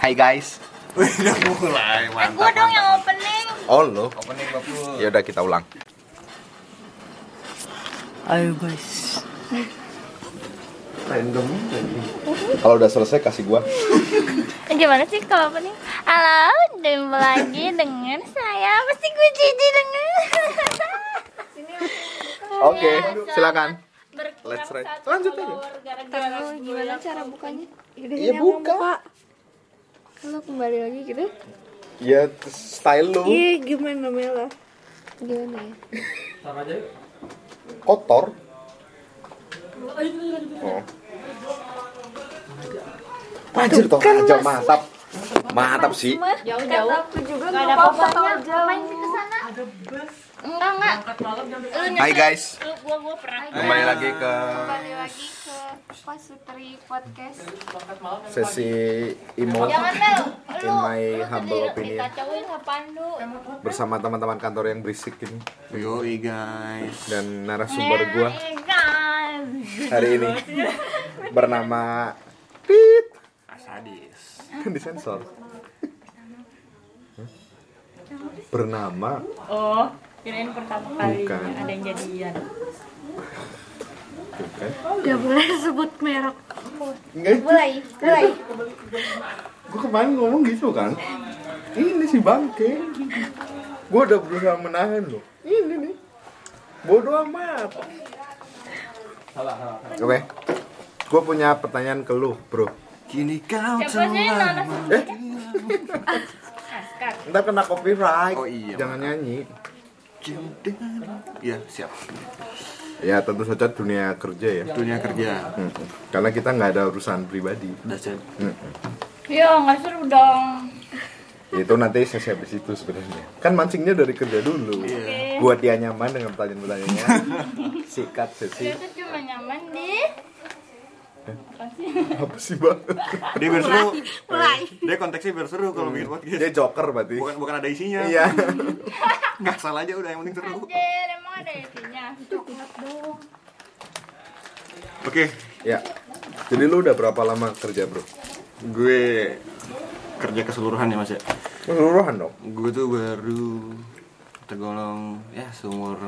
Hai guys. Udah mulai, Eh, gua dong yang opening. Oh lo. Opening bagus. Ya udah kita ulang. Ayo guys. Random. Kalau udah selesai kasih gua. Eh, Gimana sih kalau opening? Halo, jumpa lagi dengan saya. Pasti gue jadi dengan. Oke, silakan. Berkurang Let's try. Iya, satu Lanjut aja. follower gara-gara gimana cara bukanya? Iya buka. Lo kembali lagi gitu? Ya style lu Iya, gimana Mela? Gimana ya? kotor. Oh. Anjir toh aja mantap. Mantap sih. Jauh-jauh. Aku juga nggak ada apa-apanya. Main sih ke sana. Ada bus. Enggak enggak. Lu Hai nyetir. guys. Lu gua gua pernah. Kembali lagi ke Kembali lagi ke Pasutri Podcast sesi imut Jangan Mel. In my humble opinion. Dikacauin apaan lu? bersama teman-teman kantor yang berisik ini Yoi guys. dan narasumber gua Eh, guys. hari ini Iya. bernama Pit Asadis. kan disensor Hah? bernama Oh, kirain pertama kali Bukan. ada yang jadian. bukan Gak boleh sebut merek enggak Mulai. Mulai. gue kemarin ngomong gitu kan ini si bangke gue udah berusaha menahan loh ini nih bodoh amat oke gue punya pertanyaan ke lu bro Kini kau Siapa sih yang telah. nanas? ntar kena copyright Oh iya, jangan nyanyi cinta. Ya, siap. ya tentu saja dunia kerja ya Dunia kerja. Mm-mm. karena kita nggak ada urusan pribadi Udah siap. Ya, nggak seru dong. itu nanti sesi habis itu sebenarnya kan mancingnya dari kerja dulu Iya. buat dia nyaman dengan pertanyaan-pertanyaannya sikat sesi Itu cuma nyaman di apa sih bang Dia biar seru. Mulai Dia konteksnya biar seru kalau bikin dia podcast. joker berarti Bukan bukan ada isinya. iya Nggak salah aja udah yang penting seru. Anjir, emang ada isinya Coklat doang Oke, ya jadi lu udah berapa lama kerja bro gue kerja keseluruhan ya Mas ya. keseluruhan dong Gue tuh baru tergolong ya seumur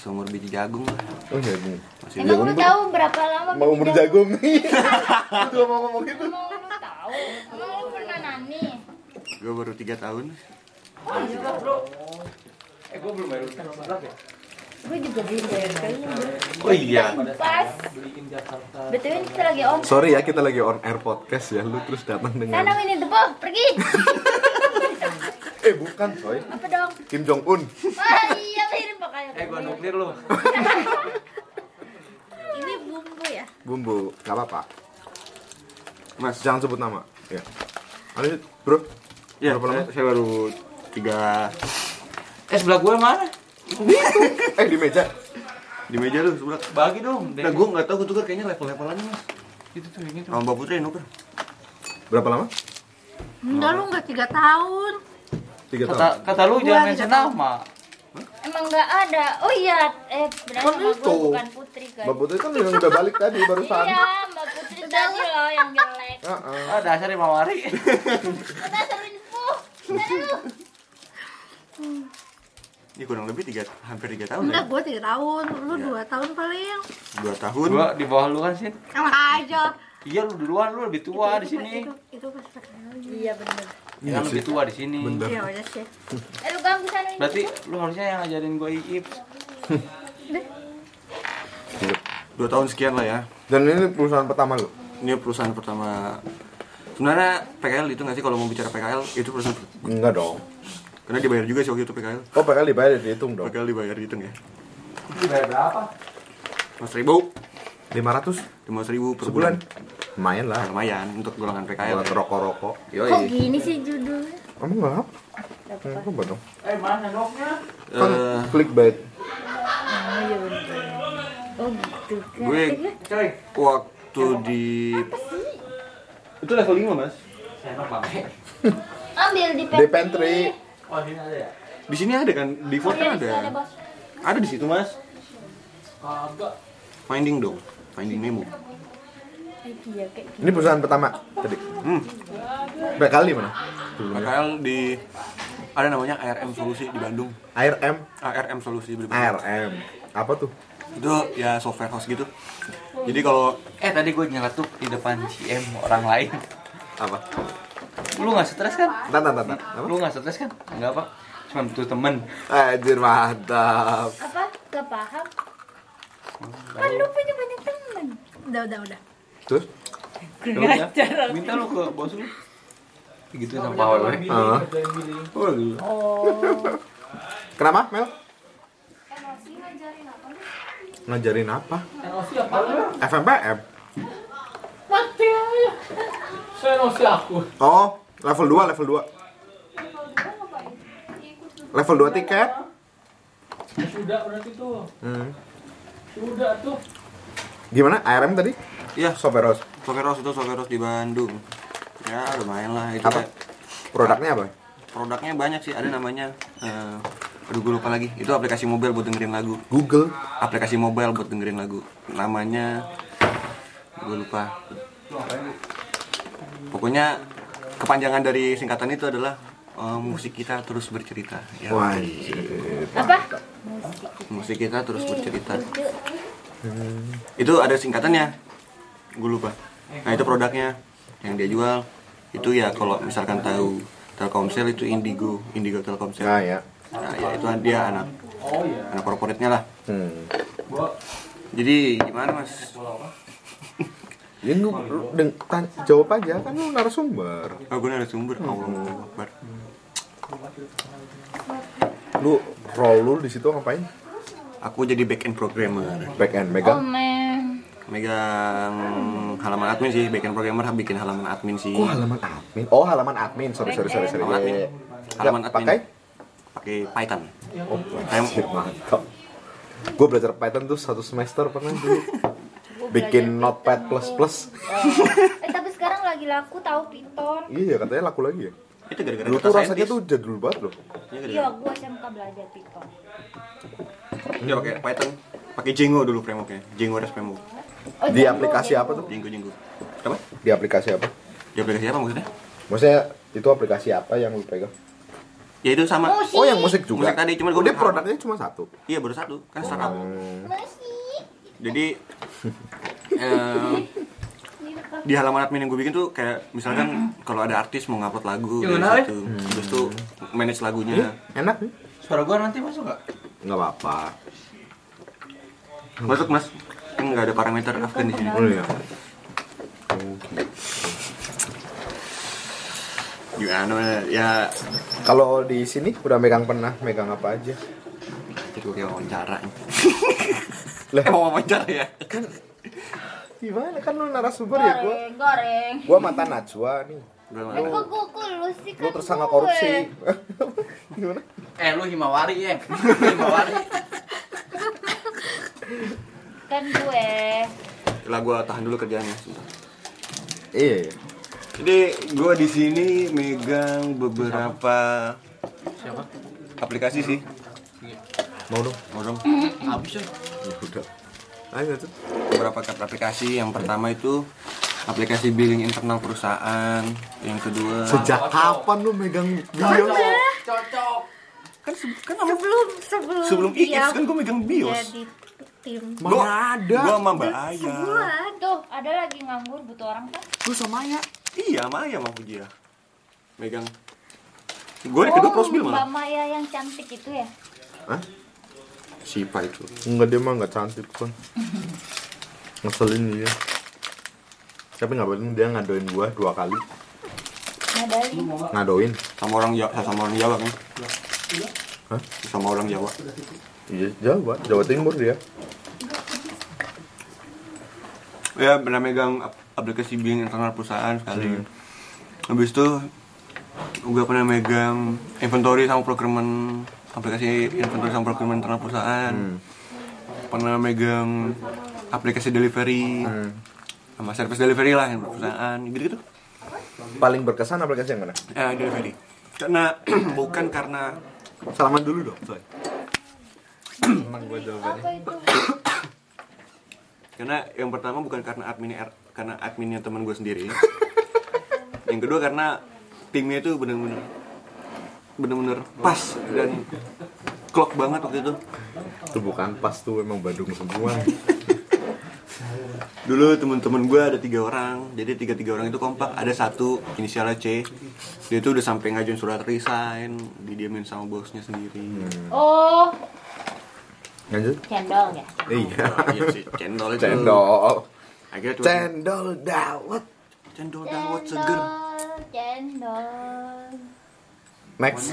seumur biji jagung lah. oh jagung Masih Emang lu tahu berapa lama mau umur pinjam- jagung Gua mau ngomong gitu Emang lu tahu? Emang lu pernah nani? Gue baru 3 tahun. Oh, iya, Gue juga beli bayar kayaknya Oh iya. Pas Betul ini kita lagi on sorry ya kita lagi on air podcast ya lu terus datang Sana dengan Winnie Nah, the Pooh, pergi eh bukan coy Apa dong? Kim Jong Un Wah iya mirip makanya Eh gua nuklir lu Ini bumbu ya? bumbu gak apa-apa Mas, jangan sebut nama ya lanjut bro Ya, berapa lama saya, saya baru tiga Eh sebelah gue mana? eh di meja di meja lu sebelah. Bagi dong. Nah, gue nggak tahu gue tuker kayaknya level-levelan mas. Itu tuh yang itu. Sama Mbak Putri nuker. berapa lama Enggak, lu gak 3 tahun tiga Kata tahun kata lu jangan mention nama. Emang nggak ada Oh iya Eh berarti Kan sama itu. gue bukan putri kan Mbak Putri kan yang udah balik tadi barusan Iya Mbak Putri tadi loh yang jelek Heeh. Ah dasar Imam Ari. Kita seruin Puh Sana lu Ini kurang lebih tiga, hampir tiga tahun Enggak, ya. gue 3 tahun Lu 2 tahun paling Dua tahun. Gua di bawah lu kan sih. Sama aja Iya lu duluan lu lebih tua di sini. Itu, itu pas perkenalan Iya bener Iya kan lebih tua di sini. bener Iya, udah sih Eh lu ganggu sana ini Berarti lu harusnya yang ngajarin gue Iips. Dua tahun sekian lah ya. dan ini perusahaan pertama lu Ini perusahaan pertama. Sebenarnya PKL itu gitu nggak sih kalau mau bicara PKL itu perusahaan per- enggak dong karena dibayar juga sih waktu itu PKL. oh PKL dibayar dihitung dong PKL dibayar dihitung ya. Bayar berapa? Mas ribu, 500 lima ribu per sebulan bulan. lumayan lah Nah, lumayan untuk golongan PKL. buat rokok-rokok Kok Yoi. gini sih judulnya? kamu enggak apa Hmm, coba dong Eh mana noknya? kan Eh, clickbait Oh gitu gue Coy. waktu di Itu level 5 mas. Senok banget. Ambil di di pantry Oh ini ada ya? di sini ada kan di Ford Iya kan di sana ada bos ada di situ mas Kagak. Finding dong, Finding Nemo. Iya, kayak gitu. Ini perusahaan pertama tadi. Hmm. Berapa kali mana? Sekarang di ada namanya ARM Solusi di Bandung. ARM, ARM Solusi di Bandung. ARM. Apa tuh? Itu ya software house gitu. Jadi kalau Eh tadi gue nyeletuk di depan GM orang lain. Apa? Lu nggak stres kan? Tata tata. Apa? Lu nggak stres kan? Enggak apa. Cuma butuh temen. Anjir mantap. Apa? Gak paham? Kan lu punya banyak temen Udah, udah, udah Terus? Ya udah, Minta lu ke bos lu. Gitu sama Pak Wewe. Ah. Oh, gitu. Kenapa, Mel? emosi ngajarin apa nih? Ngajarin apa? FMPM. Mati aja. Saya emosi aku. Oh, level 2, level 2. Level 2 tiket. Ya Sudah berarti tuh. Hmm. Sudah tuh. Gimana? ARM tadi? Iya. Software house. software house itu software house di Bandung. Ya lumayan lah itu. Apa? kayak- Produknya apa? Produknya banyak sih, ada namanya eh, aduh gue lupa lagi. Itu aplikasi mobile buat dengerin lagu. Google. Aplikasi mobile buat dengerin lagu. Namanya gue lupa. Pokoknya kepanjangan dari singkatan itu adalah eh, musik kita terus bercerita. Ya, Wah, iya, anjir. Apa? musik kita terus bercerita. Itu ada singkatannya. Gue lupa. Nah, itu produknya yang dia jual itu ya kalau misalkan tahu Telkomsel itu Indigo, Indigo Telkomsel. Nah, ya. Nah, ya itu dia anak Oh iya. anak korporatnya lah. Hmm. Gua Jadi gimana mas? Ya, lu, lu deng- tan- jawab aja kan lu narasumber. Oh, gue narasumber. Hmm. Allah Akbar. Lu role lu di situ ngapain? Aku jadi back end programmer. Back end Oh megang. man Megang halaman admin sih, back end programmer bikin halaman admin sih. Kok halaman admin? Oh, halaman admin. Sorry, sorry, sorry, sorry. Halaman Ya, ya, ya. Halaman Nggak, admin. Pakai? Pakai Python. Oh, anjir, mantap. Gue belajar Python tuh satu semester pernah dulu. Bikin notepad plus plus. Eh tapi sekarang lagi laku tahu Python Iya, katanya laku lagi ya. Itu gara-gara Dulu data tuh rasanya scientist. tuh jadul banget loh. Iya, Iya, gara-gara. gue SMK belajar Python Dia Iya, pakai Python. Pakai Django dulu frameworknya. Django REST framework. Oh, Di jago, aplikasi jago. apa tuh? Django Django. Apa? Di aplikasi apa? Dia aplikasi apa maksudnya? Maksudnya itu aplikasi apa yang lu pegang? Ya itu sama. Musik. Oh, yang musik juga. Musik tadi, cuman gua Udah berharap. produknya cuma satu. Iya baru satu kan startup. Hmm. Musik jadi eh, di halaman admin yang gue bikin tuh kayak misalkan kalau ada artis mau ngupload lagu Iya, Jangan dari alay. situ, terus tuh Hmm. manage lagunya Enak nih. Suara gua nanti masuk nggak? Enggak apa-apa. masuk mas nggak ada parameter Afgan di sini Oh iya. gimana ya Kalau di sini udah megang pernah megang apa aja? itu kayak wawancara Lah. eh mau wawancara ya Gimana kan lu narasumber ya gua. Goreng, goreng Gua mantan Najwa nih. Eh, kok kuku lu sih Lu kan tersangka gue. korupsi. Gimana? Eh lu himawari ya. Lu himawari. Kan gue lah gue tahan dulu kerjaannya sebentar. Iya, iya. jadi gue di sini megang beberapa Siapa? aplikasi sih Mau dong. mau dong Habis ya. Ya udah. Ayo tuh. beberapa kat- aplikasi yang pertama itu aplikasi billing internal perusahaan yang kedua Sejak kapan lu megang Cocok. bio? Cocok. kan se- kan sama- Sebelum, sebelum sebelum dia IX kan gue megang bios Jadi tim Mana ada? gue sama mbak Aya Sebulan Tuh, ada lagi nganggur butuh orang kan? Lu sama ya? iya sama Aya sama dia megang Eh, gue yang Oh, kedua Oh, prosbil Mbak malah Maya yang cantik itu ya? Hah? siapa itu Enggak dia mah enggak cantik kan. Ngeselin dia. Tapi nggak penting dia ngadoin gua dua kali. Nadali Ngadoin. sama orang Jawa sama orang Jawa kan Hah? sama orang Jawa Iya, Jawa, Jawa Timur dia. ya pernah megang ap- aplikasi billing internal perusahaan sekali habis itu gue pernah megang inventory sama procurement aplikasi inventory sama procurement internal perusahaan pernah megang aplikasi delivery sama service delivery lah yang perusahaan gitu gitu Paling berkesan aplikasi yang mana? eh delivery karena bukan karena Salaman dulu dong, Soy. Senang gua jawabannya. Apa itu? karena yang pertama bukan karena admin R- karena adminnya teman gue sendiri yang kedua karena timnya itu bener-bener bener-bener pas dan klok banget waktu itu Itu bukan pas tuh emang Badung semua. dulu teman-teman gue ada tiga orang jadi tiga tiga orang itu kompak ada satu inisialnya C dia itu udah sampai ngajuin surat resign didiemin sama bosnya sendiri Hmm. Oh, Lanjut. cendol ya? Iya. iya sih cendol itu Cendol. akhirnya cuma Cendol dawet. cendol dawet seger Cendol. Next.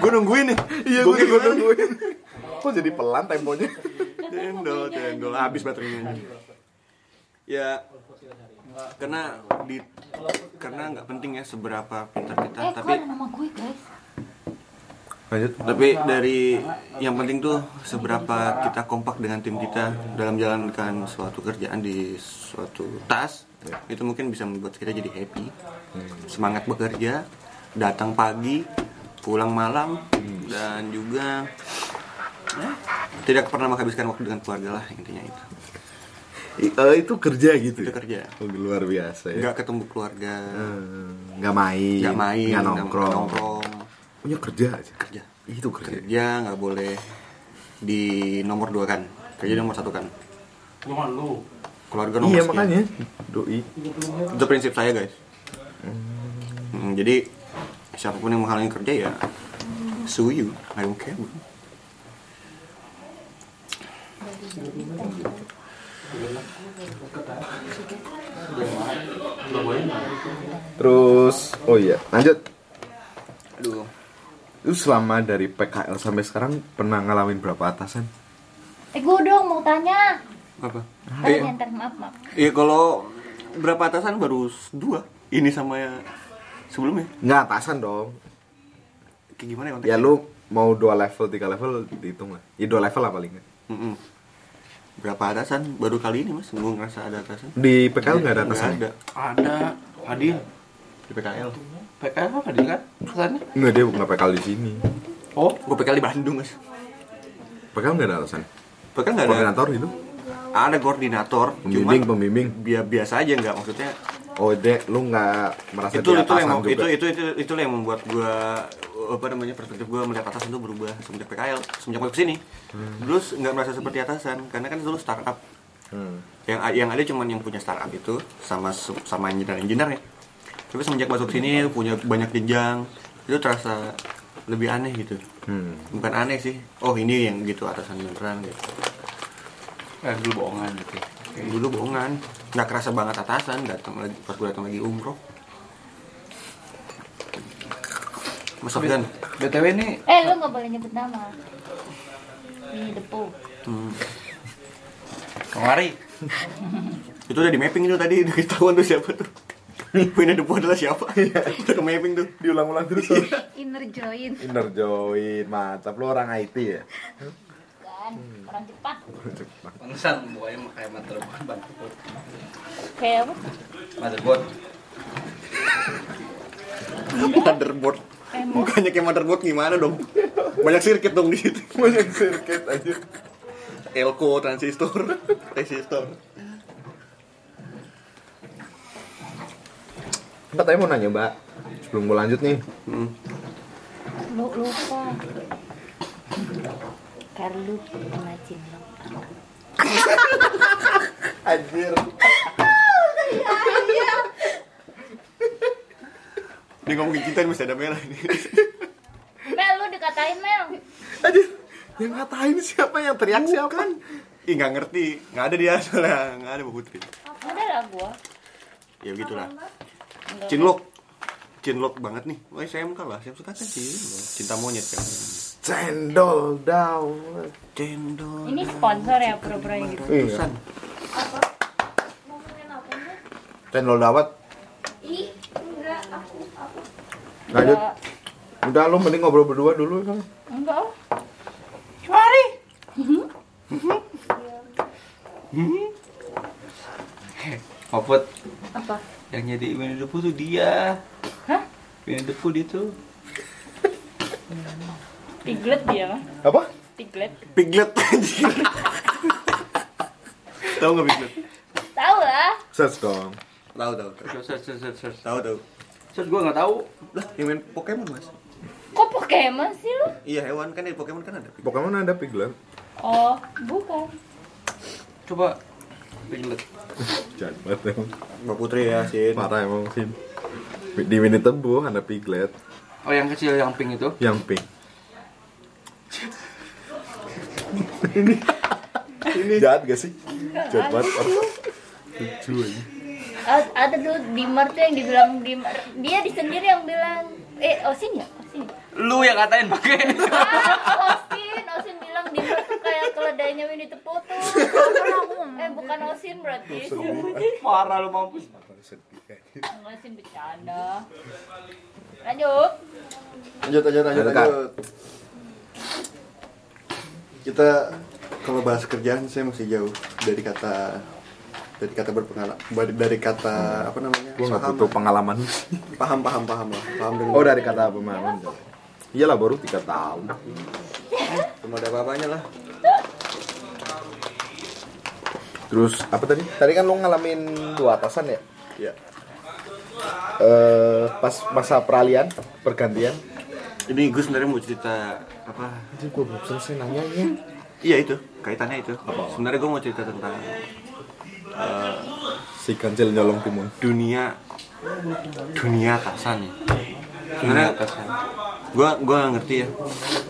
gue nungguin nih Iya gue juga nungguin. Kok jadi pelan temponya? Cendol, cendol, habis baterainya. Ya, karena di karena nggak penting ya seberapa pintar Ah, kita, Eh, kok tapi ada nama gue, guys? Lanjut. tapi dari yang penting tuh seberapa kita kompak dengan tim kita dalam menjalankan suatu kerjaan di suatu tas itu mungkin bisa membuat kita jadi happy, semangat bekerja, datang pagi, pulang malam, dan juga ya, tidak pernah menghabiskan waktu dengan keluarga lah intinya itu. I- eh, itu kerja gitu. Itu ya? kerja. Oh, luar biasa ya. nggak ketemu keluarga Eh, Nggak main. nggak main Nggak nggak nongkrong. nongkrong. Punya kerja aja. kerja Itu kerja. kerja nggak boleh di nomor dua kan kerja nomor satu kan Cuma lu. keluarga nomor Iya sekian. makanya. Doi. itu prinsip saya guys Hmm, jadi siapapun yang menghalangi kerja ya sue you I don't care bro. Terus, oh iya, lanjut. aduh Lu selama dari PKL sampai sekarang pernah ngalamin berapa atasan? Eh, gue dong mau tanya. apa Oh, iya ntar, maaf, maaf. iya, kalau berapa atasan baru s- dua ini sama ya sebelumnya Nggak atasan dong. kayak gimana ya konteksnya Ya lu mau dua level, tiga level dihitung lah. Ya dua level lah paling. nggak. Mm-mm. berapa atasan baru kali ini mas gue ngerasa ada atasan Di PKL Kan Iya, nggak ada atasan. Iya, ya? Nggak ada. Ada Fadil. di PKL PKL apa Fadil kan? Pesannya? Nggak dia nggak PKL di sini. Oh, gue PKL di Bandung mas PKL nggak ada atasan. PKL nggak ada Koordinator gitu. ada koordinator Pembimbing, cuman pembimbing. bi- biasa aja nggak maksudnya Oh dek, lu nggak merasa itu di itu atasan yang mau- juga. itu itu itu itulah yang membuat gue apa namanya perspektif gue melihat atasan itu berubah semenjak PKL semenjak gue kesini terus nggak merasa seperti atasan karena kan dulu startup Hmm. yang yang ada cuman yang punya startup itu sama sama engineer engineer ya tapi semenjak masuk sini punya banyak jenjang itu terasa lebih aneh gitu Hmm. bukan aneh sih oh ini yang gitu atasan beneran gitu eh, dulu bohongan gitu. dulu bohongan nggak kerasa banget atasan datang lagi pas gue datang lagi um, umroh Mas Sofyan BTW ini Eh, lu nggak boleh nyebut nama. Di depo. hmm, kemari. itu udah di mapping itu tadi udah ketahuan tuh siapa tuh Winner the adalah siapa? Udah ke mapping tuh Diulang-ulang terus. Iya. Om. Inner join. Inner join, mantap lu orang IT ya. Kan, Hmm. orang Jepang. Pengsan buaya pakai motherboard, motherboard. Kayak apa? Motherboard. motherboard mukanya kayak motherboard gimana dong banyak sirkuit dong di situ Banyak sirkuit aja. elko transistor resistor Mbak tadi mau nanya mbak, sebelum gue lanjut nih. hmm. Lu lupa. Karlu pernah cinlok. Anjir. dia ngomongin cinta masih ada merah ini Mel, lu dikatain Mel. Anjir. Yang ngatain siapa yang teriak siapa? ih nggak ngerti nggak ada dia soalnya nggak ada bu putri Udah lah gua. ya begitulah cinlok cinlok banget nih wah saya kalah saya suka kan cinlok cinta monyet kan Cendol dawet. Iya. cendol Ini sponsor ya pura-pura yang gitu. ratusan Cendol dawet. Ih, enggak, aku, aku. Lanjut. Udah lu mending ngobrol berdua dulu kan. Enggak. oh. Opot Apa? yang jadi Winnie the Pooh tuh dia. Hah? Winnie the Pooh dia tuh. Piglet dia mah. Apa? Piglet. piglet anjir Tahu nggak bisnis? Tahu lah. Search dong. Tahu tahu tahu. Search, search, search, search. Tahu tahu. Search gue nggak tahu. Lah, yang main Pokemon, Mas. Kok Pokemon sih lu? Iya, hewan kan di Pokemon kan ada. Pokemon ada piglet. Oh, bukan. Coba Piglet. Jangan banget emang. Mbak Putri ya, Sin. Parah emang sih. Di mini tebu ada piglet Oh yang kecil yang pink itu. yang pink. ini ini jahat gak sih? Jahat banget. Lucu aja. Ad- Ada dulu Dimar tuh yang dibilang Dimar. Dia di sendiri yang bilang eh Osin ya? Osin. Lu yang katain pakai. Ah, Osin, Osin bilang Dimar tuh kayak keledainya Winnie the Pooh tuh. eh bukan Osin berarti. Parah lu mampus. Ngasin bercanda. Lanjut. lanjut lanjut lanjut Lanjut, Kak. lanjut kita kalau bahas kerjaan saya masih jauh dari kata dari kata berpengalaman dari kata apa namanya Gue gak paham butuh pengalaman. paham paham paham lah paham dengan Oh dari kata pemahaman. Iyalah baru 3 tahun. belum ada apa-apanya lah Terus apa tadi? Tadi kan lo ngalamin dua atasan ya? ya Eh, pas masa peralihan, pergantian. Ini gue sebenarnya mau cerita apa? Jadi gue belum selesai nanyanya. Iya itu, kaitannya itu. Sebenarnya gue mau cerita tentang Si kancil nyolong timun. dunia dunia atasan ya. Sebenarnya Gue gue ngerti ya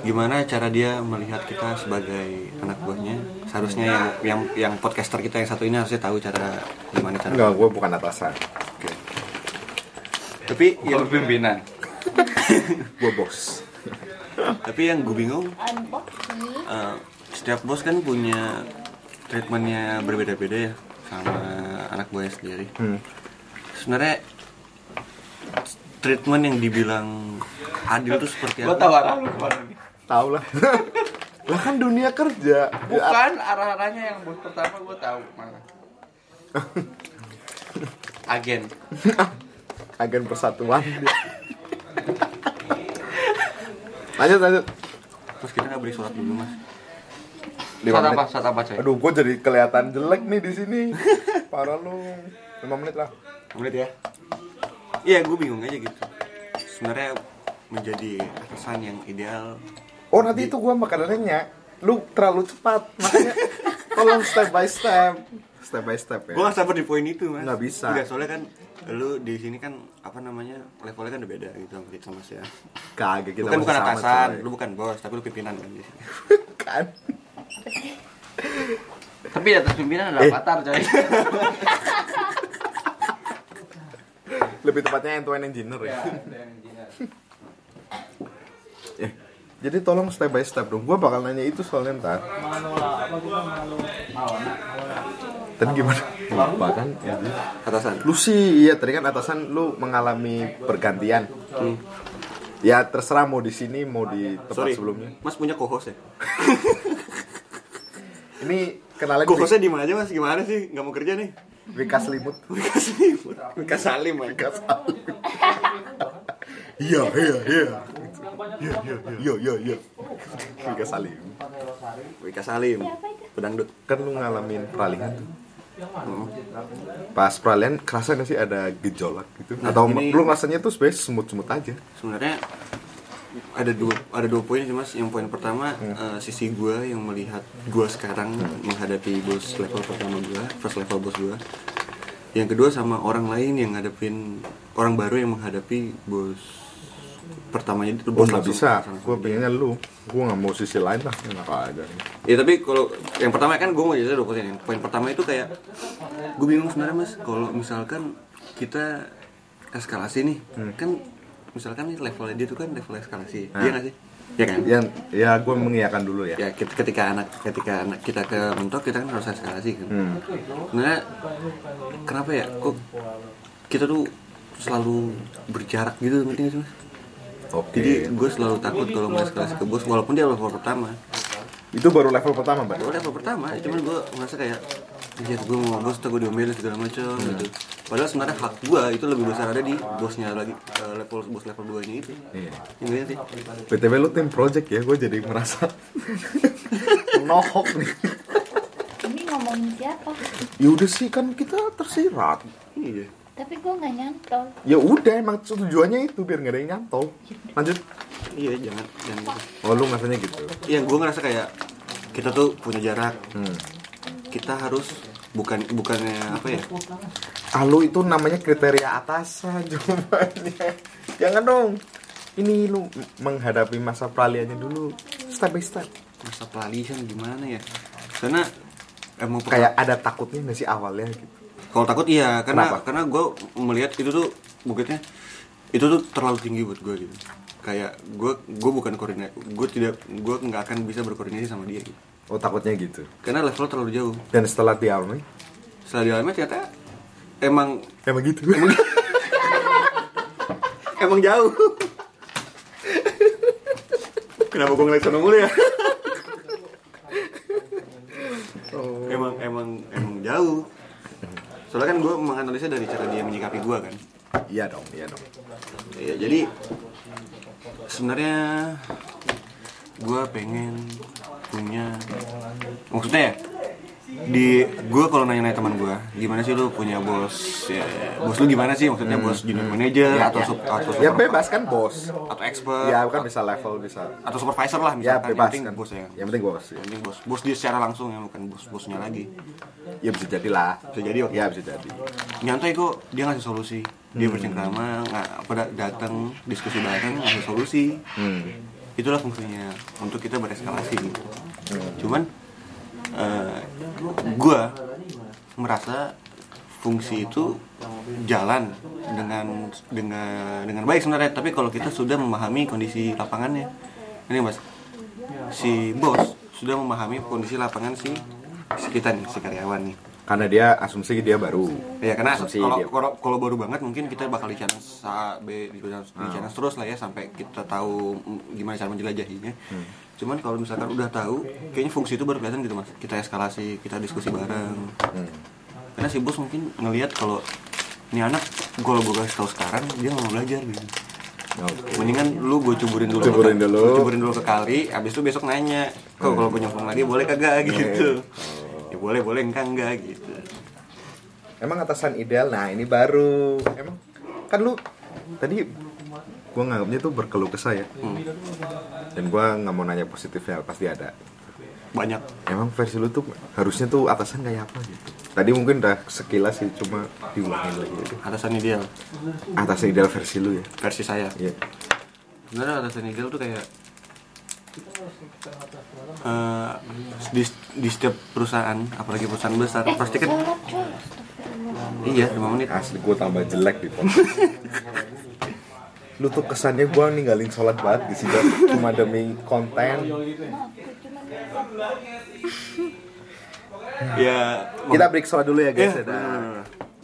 gimana cara dia melihat kita sebagai anak buahnya. Seharusnya yang yang yang podcaster kita yang satu ini harusnya tahu cara gimana cara. Enggak, gue bukan atasan. Tapi Ya yang pimpinan. Gue bos. tapi yang gue bingung eh, setiap bos kan punya treatmentnya berbeda-beda ya sama anak buahnya sendiri. Hmm. Sebenarnya treatment yang dibilang adil itu seperti Gue apa? tahu arah lu kemana nih. Tahu lah. lah kan dunia kerja. Ya, Bukan arah-arahnya yang bos pertama gue tahu mana. Agen. agen persatuan. lanjut lanjut. Terus kita nggak beri surat dulu mas. Lima Saat apa? menit. Saat apa coy? Aduh, gue jadi kelihatan jelek nih di sini. Parah lu. 5 menit lah. Menit ya? Iya gue bingung aja gitu. Sebenarnya menjadi atasan yang ideal Oh nanti itu gua makanannya Lu terlalu cepat Makanya tolong step by step Step by step ya Gue gak sabar di poin itu mas Nggak bisa. Nggak, soalnya kan lu di sini kan apa namanya levelnya kan udah beda gitu sama kita mas ya Kagak kita Lu kan masih bukan sama, atasan, coy. lu bukan bos, tapi lu pimpinan kan di sini Kan Tapi di atas pimpinan Eh. ada avatar coy. Lebih tepatnya end to end engineer Iya, ya Eh, Jadi tolong step by step dong Gua bakal nanya itu soalnya ntar Manola apa kita malu? Ya, Mawana. Tadi gimana? Lupa kan Atasan Lu sih iya tadi kan atasan lu mengalami pergantian Ya terserah mau di sini mau di tempat Sorry, sebelumnya mas punya co-host ya? Ini kenalin Co-hostnya di mana aja mas? Gimana sih? Gak mau kerja nih? Wika Selimut Wika Salim Wika Salim mas Wika Salim Iya iya iya Iya iya iya iya iya Wika Salim Wika Salim Pedangdut Kan lu ngalamin peralihan tuh Pas peralihan kerasa gak sih ada gejolak gitu Nah, Atau ini- lu rasanya tuh sebenernya semut-semut aja sebenarnya ada dua ada dua poin sih mas yang poin pertama eh, sisi gua yang melihat gua sekarang menghadapi bos level pertama gua first level bos gua yang kedua sama orang lain yang ngadepin orang baru yang menghadapi bos pertamanya itu Gue bos gak Oh, langsung. bisa, Langsung. gue pengennya lu Gue gak mau sisi lain lah, enak aja nih ya tapi kalau yang pertama kan gue mau cerita dua poin yang poin pertama itu kayak gue bingung sebenarnya mas kalau misalkan kita eskalasi nih kan misalkan nih levelnya dia tuh kan level eskalasi iya nggak sih Iya kan Ya, ya gue mengiyakan dulu ya ya ket- ketika anak ketika anak kita ke mentok kita kan harus eskalasi kan Hmm. Sebenarnya, kenapa ya kok kita tuh selalu berjarak gitu ngerti nggak sih mas jadi Oke gue selalu takut kalau ngeskalasi ke bos walaupun dia level pertama Itu baru level pertama mbak gue Oh, level pertama cuman gue ngerasa kayak Anjir gue mau bos tuh gue diomelin segala macam gitu Padahal sebenarnya hak gue itu lebih besar ada di bosnya lagi eh, level bos level 2 nya itu. Iya. Yang sih. BTW lu tim project ya, gue jadi merasa Menohok nih Ini ngomong Tolongin siapa? Ya udah sih kan kita tersirat. Iya. Tapi gue nggak nyantol. Ya udah emang tujuannya itu biar nggak ada yang nyantol. Lanjut. iya jangan jangan gitu. Oh lu ngerasanya gitu. ya gue ngerasa kayak kita tuh punya jarak Hmm. kita harus bukan bukannya apa ya Ah lu itu namanya kriteria atasan jawabannya. Jangan dong. Ini lu menghadapi masa peralihannya dulu step by step. masa pelalisan gimana ya karena emang peka- Kayak ada takutnya nggak sih awalnya gitu. kalau takut iya karena Kenapa? karena gue melihat itu tuh bukitnya itu tuh terlalu tinggi buat gue gitu kayak gue gue bukan koordinat gue tidak gue nggak akan bisa berkoordinasi sama dia gitu. Oh takutnya gitu. karena level terlalu jauh Dan setelah dialami setelah dialami ternyata emang emang gitu. emang jauh kenapa gue ngeliat sana mulu ya emang emang emang jauh soalnya kan gue menganalisa dari cara dia menyikapi gue kan Iya dong, iya dong. ya, jadi sebenarnya gue pengen punya maksudnya ya di gue kalau nanya-nanya teman gue gimana sih lu punya bos ya, bos lu gimana sih maksudnya bos junior manager atau sub atau Hmm. Ya super- bebas kan bos. atau expert Ya kan bisa level bisa. atau supervisor lah Ya misalkan yang bebas penting kan. bos ya Yang penting bos. ya. yang penting bos bos dia secara langsung ya bukan bos bosnya lagi Ya bisa jadilah. Bisa jadi, oke. Ya bisa jadi. nyantai kok dia ngasih solusi dia bercengkrama nggak pada datang diskusi bareng ngasih solusi itulah fungsinya untuk kita bereskalasi gitu cuman eh, gua merasa fungsi itu jalan dengan dengan dengan baik sebenarnya tapi kalau kita sudah memahami kondisi lapangannya ini mas si bos sudah memahami kondisi lapangan si si kita nih si karyawan nih Karena dia asumsi dia baru. Ya karena Asumsi kalau dia. kalau- kalau baru banget mungkin kita bakal di challenge A, B, di, challenge- Hmm. di challenge terus lah ya sampai kita tahu mm, gimana cara menjelajahinya. Hmm. Cuman kalau misalkan udah tahu, kayaknya fungsi itu baru kelihatan gitu mas. Kita eskalasi, kita diskusi bareng. Hmm. Karena si bos mungkin ngelihat kalau ini anak kalau gue kasih tahu sekarang dia nggak mau belajar gitu. Oke. Mendingan lu gue cuburin dulu, Cuburin ke, dulu. Hmm. gua cuburin dulu ke kali, abis itu besok nanya, kok kalau punya uang lagi boleh kagak gitu? Oh. Ya boleh boleh enggak enggak gitu. Emang atasan ideal. Nah, ini baru. Emang kan lu tadi gua nganggapnya tuh berkeluh kesah ya. Dan gua nggak mau nanya positifnya pasti ada. Banyak Emang versi lu tuh harusnya tuh atasan kayak apa gitu. Tadi mungkin udah sekilas sih cuma diulangin lagi aja. atasan ideal Atasan ideal versi lu ya. versi saya Iya. sebenarnya atasan ideal tuh kayak eh, di, di setiap perusahaan apalagi perusahaan besar pasti kan iya lima menit Asli gua tambah jelek di podcast. lu tuh kesannya gua ninggalin sholat banget di sini cuma demi konten ya kita break sholat dulu ya ya, guys ya, dah. bener-bener.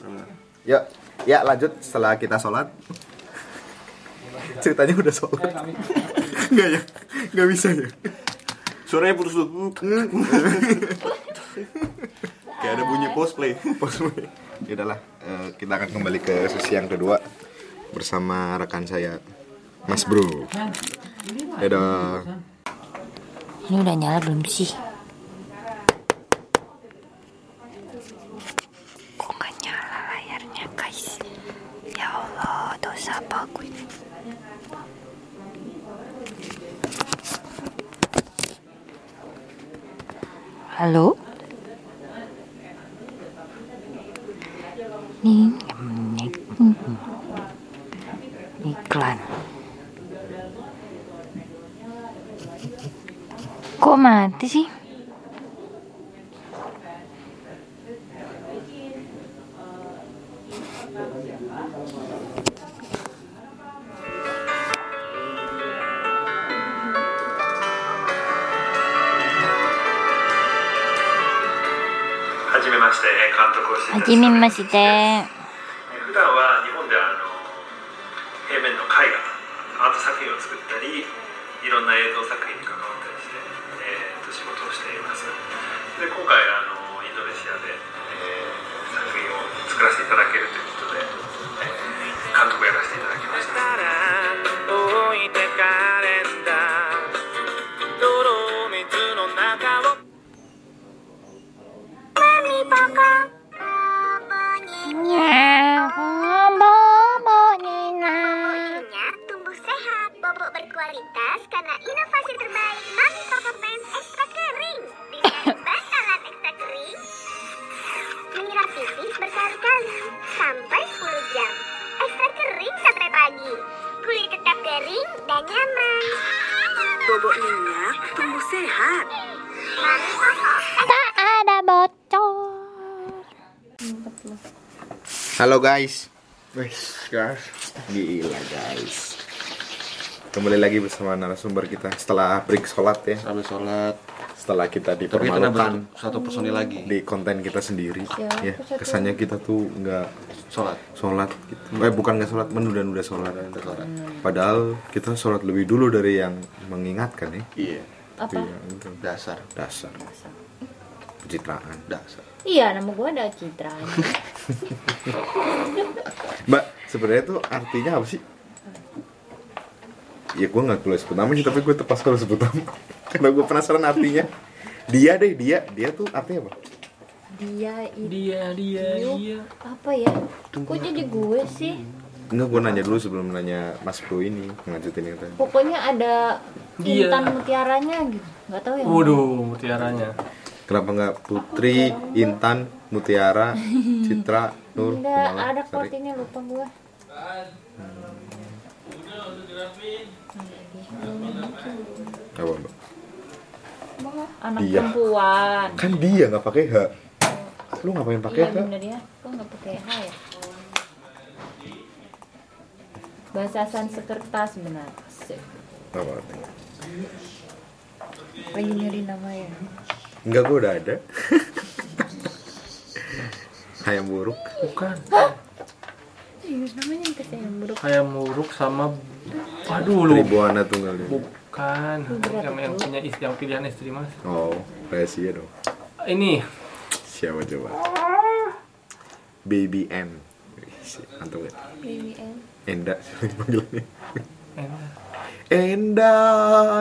Bener-bener. Yuk, ya lanjut setelah kita sholat Ceritanya udah sholat Enggak ya, enggak bisa ya suaranya putus tuh kayak ada bunyi post play Ya udahlah, eh, kita akan kembali ke sesi yang kedua Bersama rekan saya, Mas Bro Ya Dadah Ini udah nyala belum sih? Kok nggak nyala layarnya guys? Ya Allah, dosa apa gue? Halo? Nih, nih, iklan. Kok mati sih? Hajimemashite. 普段は日本ではあの平面の絵画アート作品を作ったりいろんな映像作品に関わったりして、えーと仕事をしていますで今回あのインドネシアで、えー作品を作らせていただけるということで、えー監督をやらせていただきました Mami, berkualitas karena inovasi terbaik Mami Performance Extra Kering dengan bantalan extra kering menyerap pipis berkali-kali sampai 10 jam extra kering sampai pagi kulit tetap kering dan nyaman Bobok minyak tumbuh sehat. Mami Performance Tak ada bocor. 啊 Halo guys. Gila guys. Kembali lagi bersama narasumber kita setelah break sholat ya. Sambil sholat. Setelah kita Tapi itu nambah dipermalukan satu personil lagi. di konten kita sendiri ya. Kesannya kita tuh nggak Sholat. sholat gitu. eh bukan nggak sholat menunda-nunda sholat padahal kita sholat lebih dulu dari yang mengingatkan ya Iya. tapi ya, itu Dasar. dasar pencitraan Dasar. Iya, nama gue ada Citra. mbak sebenarnya tuh artinya apa sih ya gue nggak boleh sebut nama sih tapi gue terpaksa kalau sebut nama karena gue penasaran artinya dia deh dia dia tuh artinya apa Dia itu Dia, dia, dia. apa ya? Kok jadi gue sih? Enggak, gue nanya dulu sebelum nanya Mas Bro ini Ngelanjutin itu Pokoknya ada Dia. intan mutiaranya gitu. Gak tahu ya. Waduh, mutiaranya. Kenapa nggak Putri, Intan, Mutiara, Citra, Nur, Enggak, Kumala, ada Sari? kuat ini lupa gue. Apa, Mbak? Anak Iya. Dia. perempuan. Kan dia nggak pakai H. Lu ngapain pakai Iya H? bener ya. Kok gak pakai H ya? Bahasa Sanskerta sebenarnya. Asik. Nggak apa-apa. Lagi nyari nama ya. Enggak, gue udah ada. Hayam buruk. Bukan. Serius Iya, namanya yang kesini yang buruk. Kayak muruk sama Aduh lu. Tribuana tunggal ini. Bukan. Yang, yang punya istri, yang pilihan istri Mas. Oh, rahasia dong. Ini Siapa coba? Baby M. Antum gak? ya. eh. Enda siapa yang panggilannya? Enda.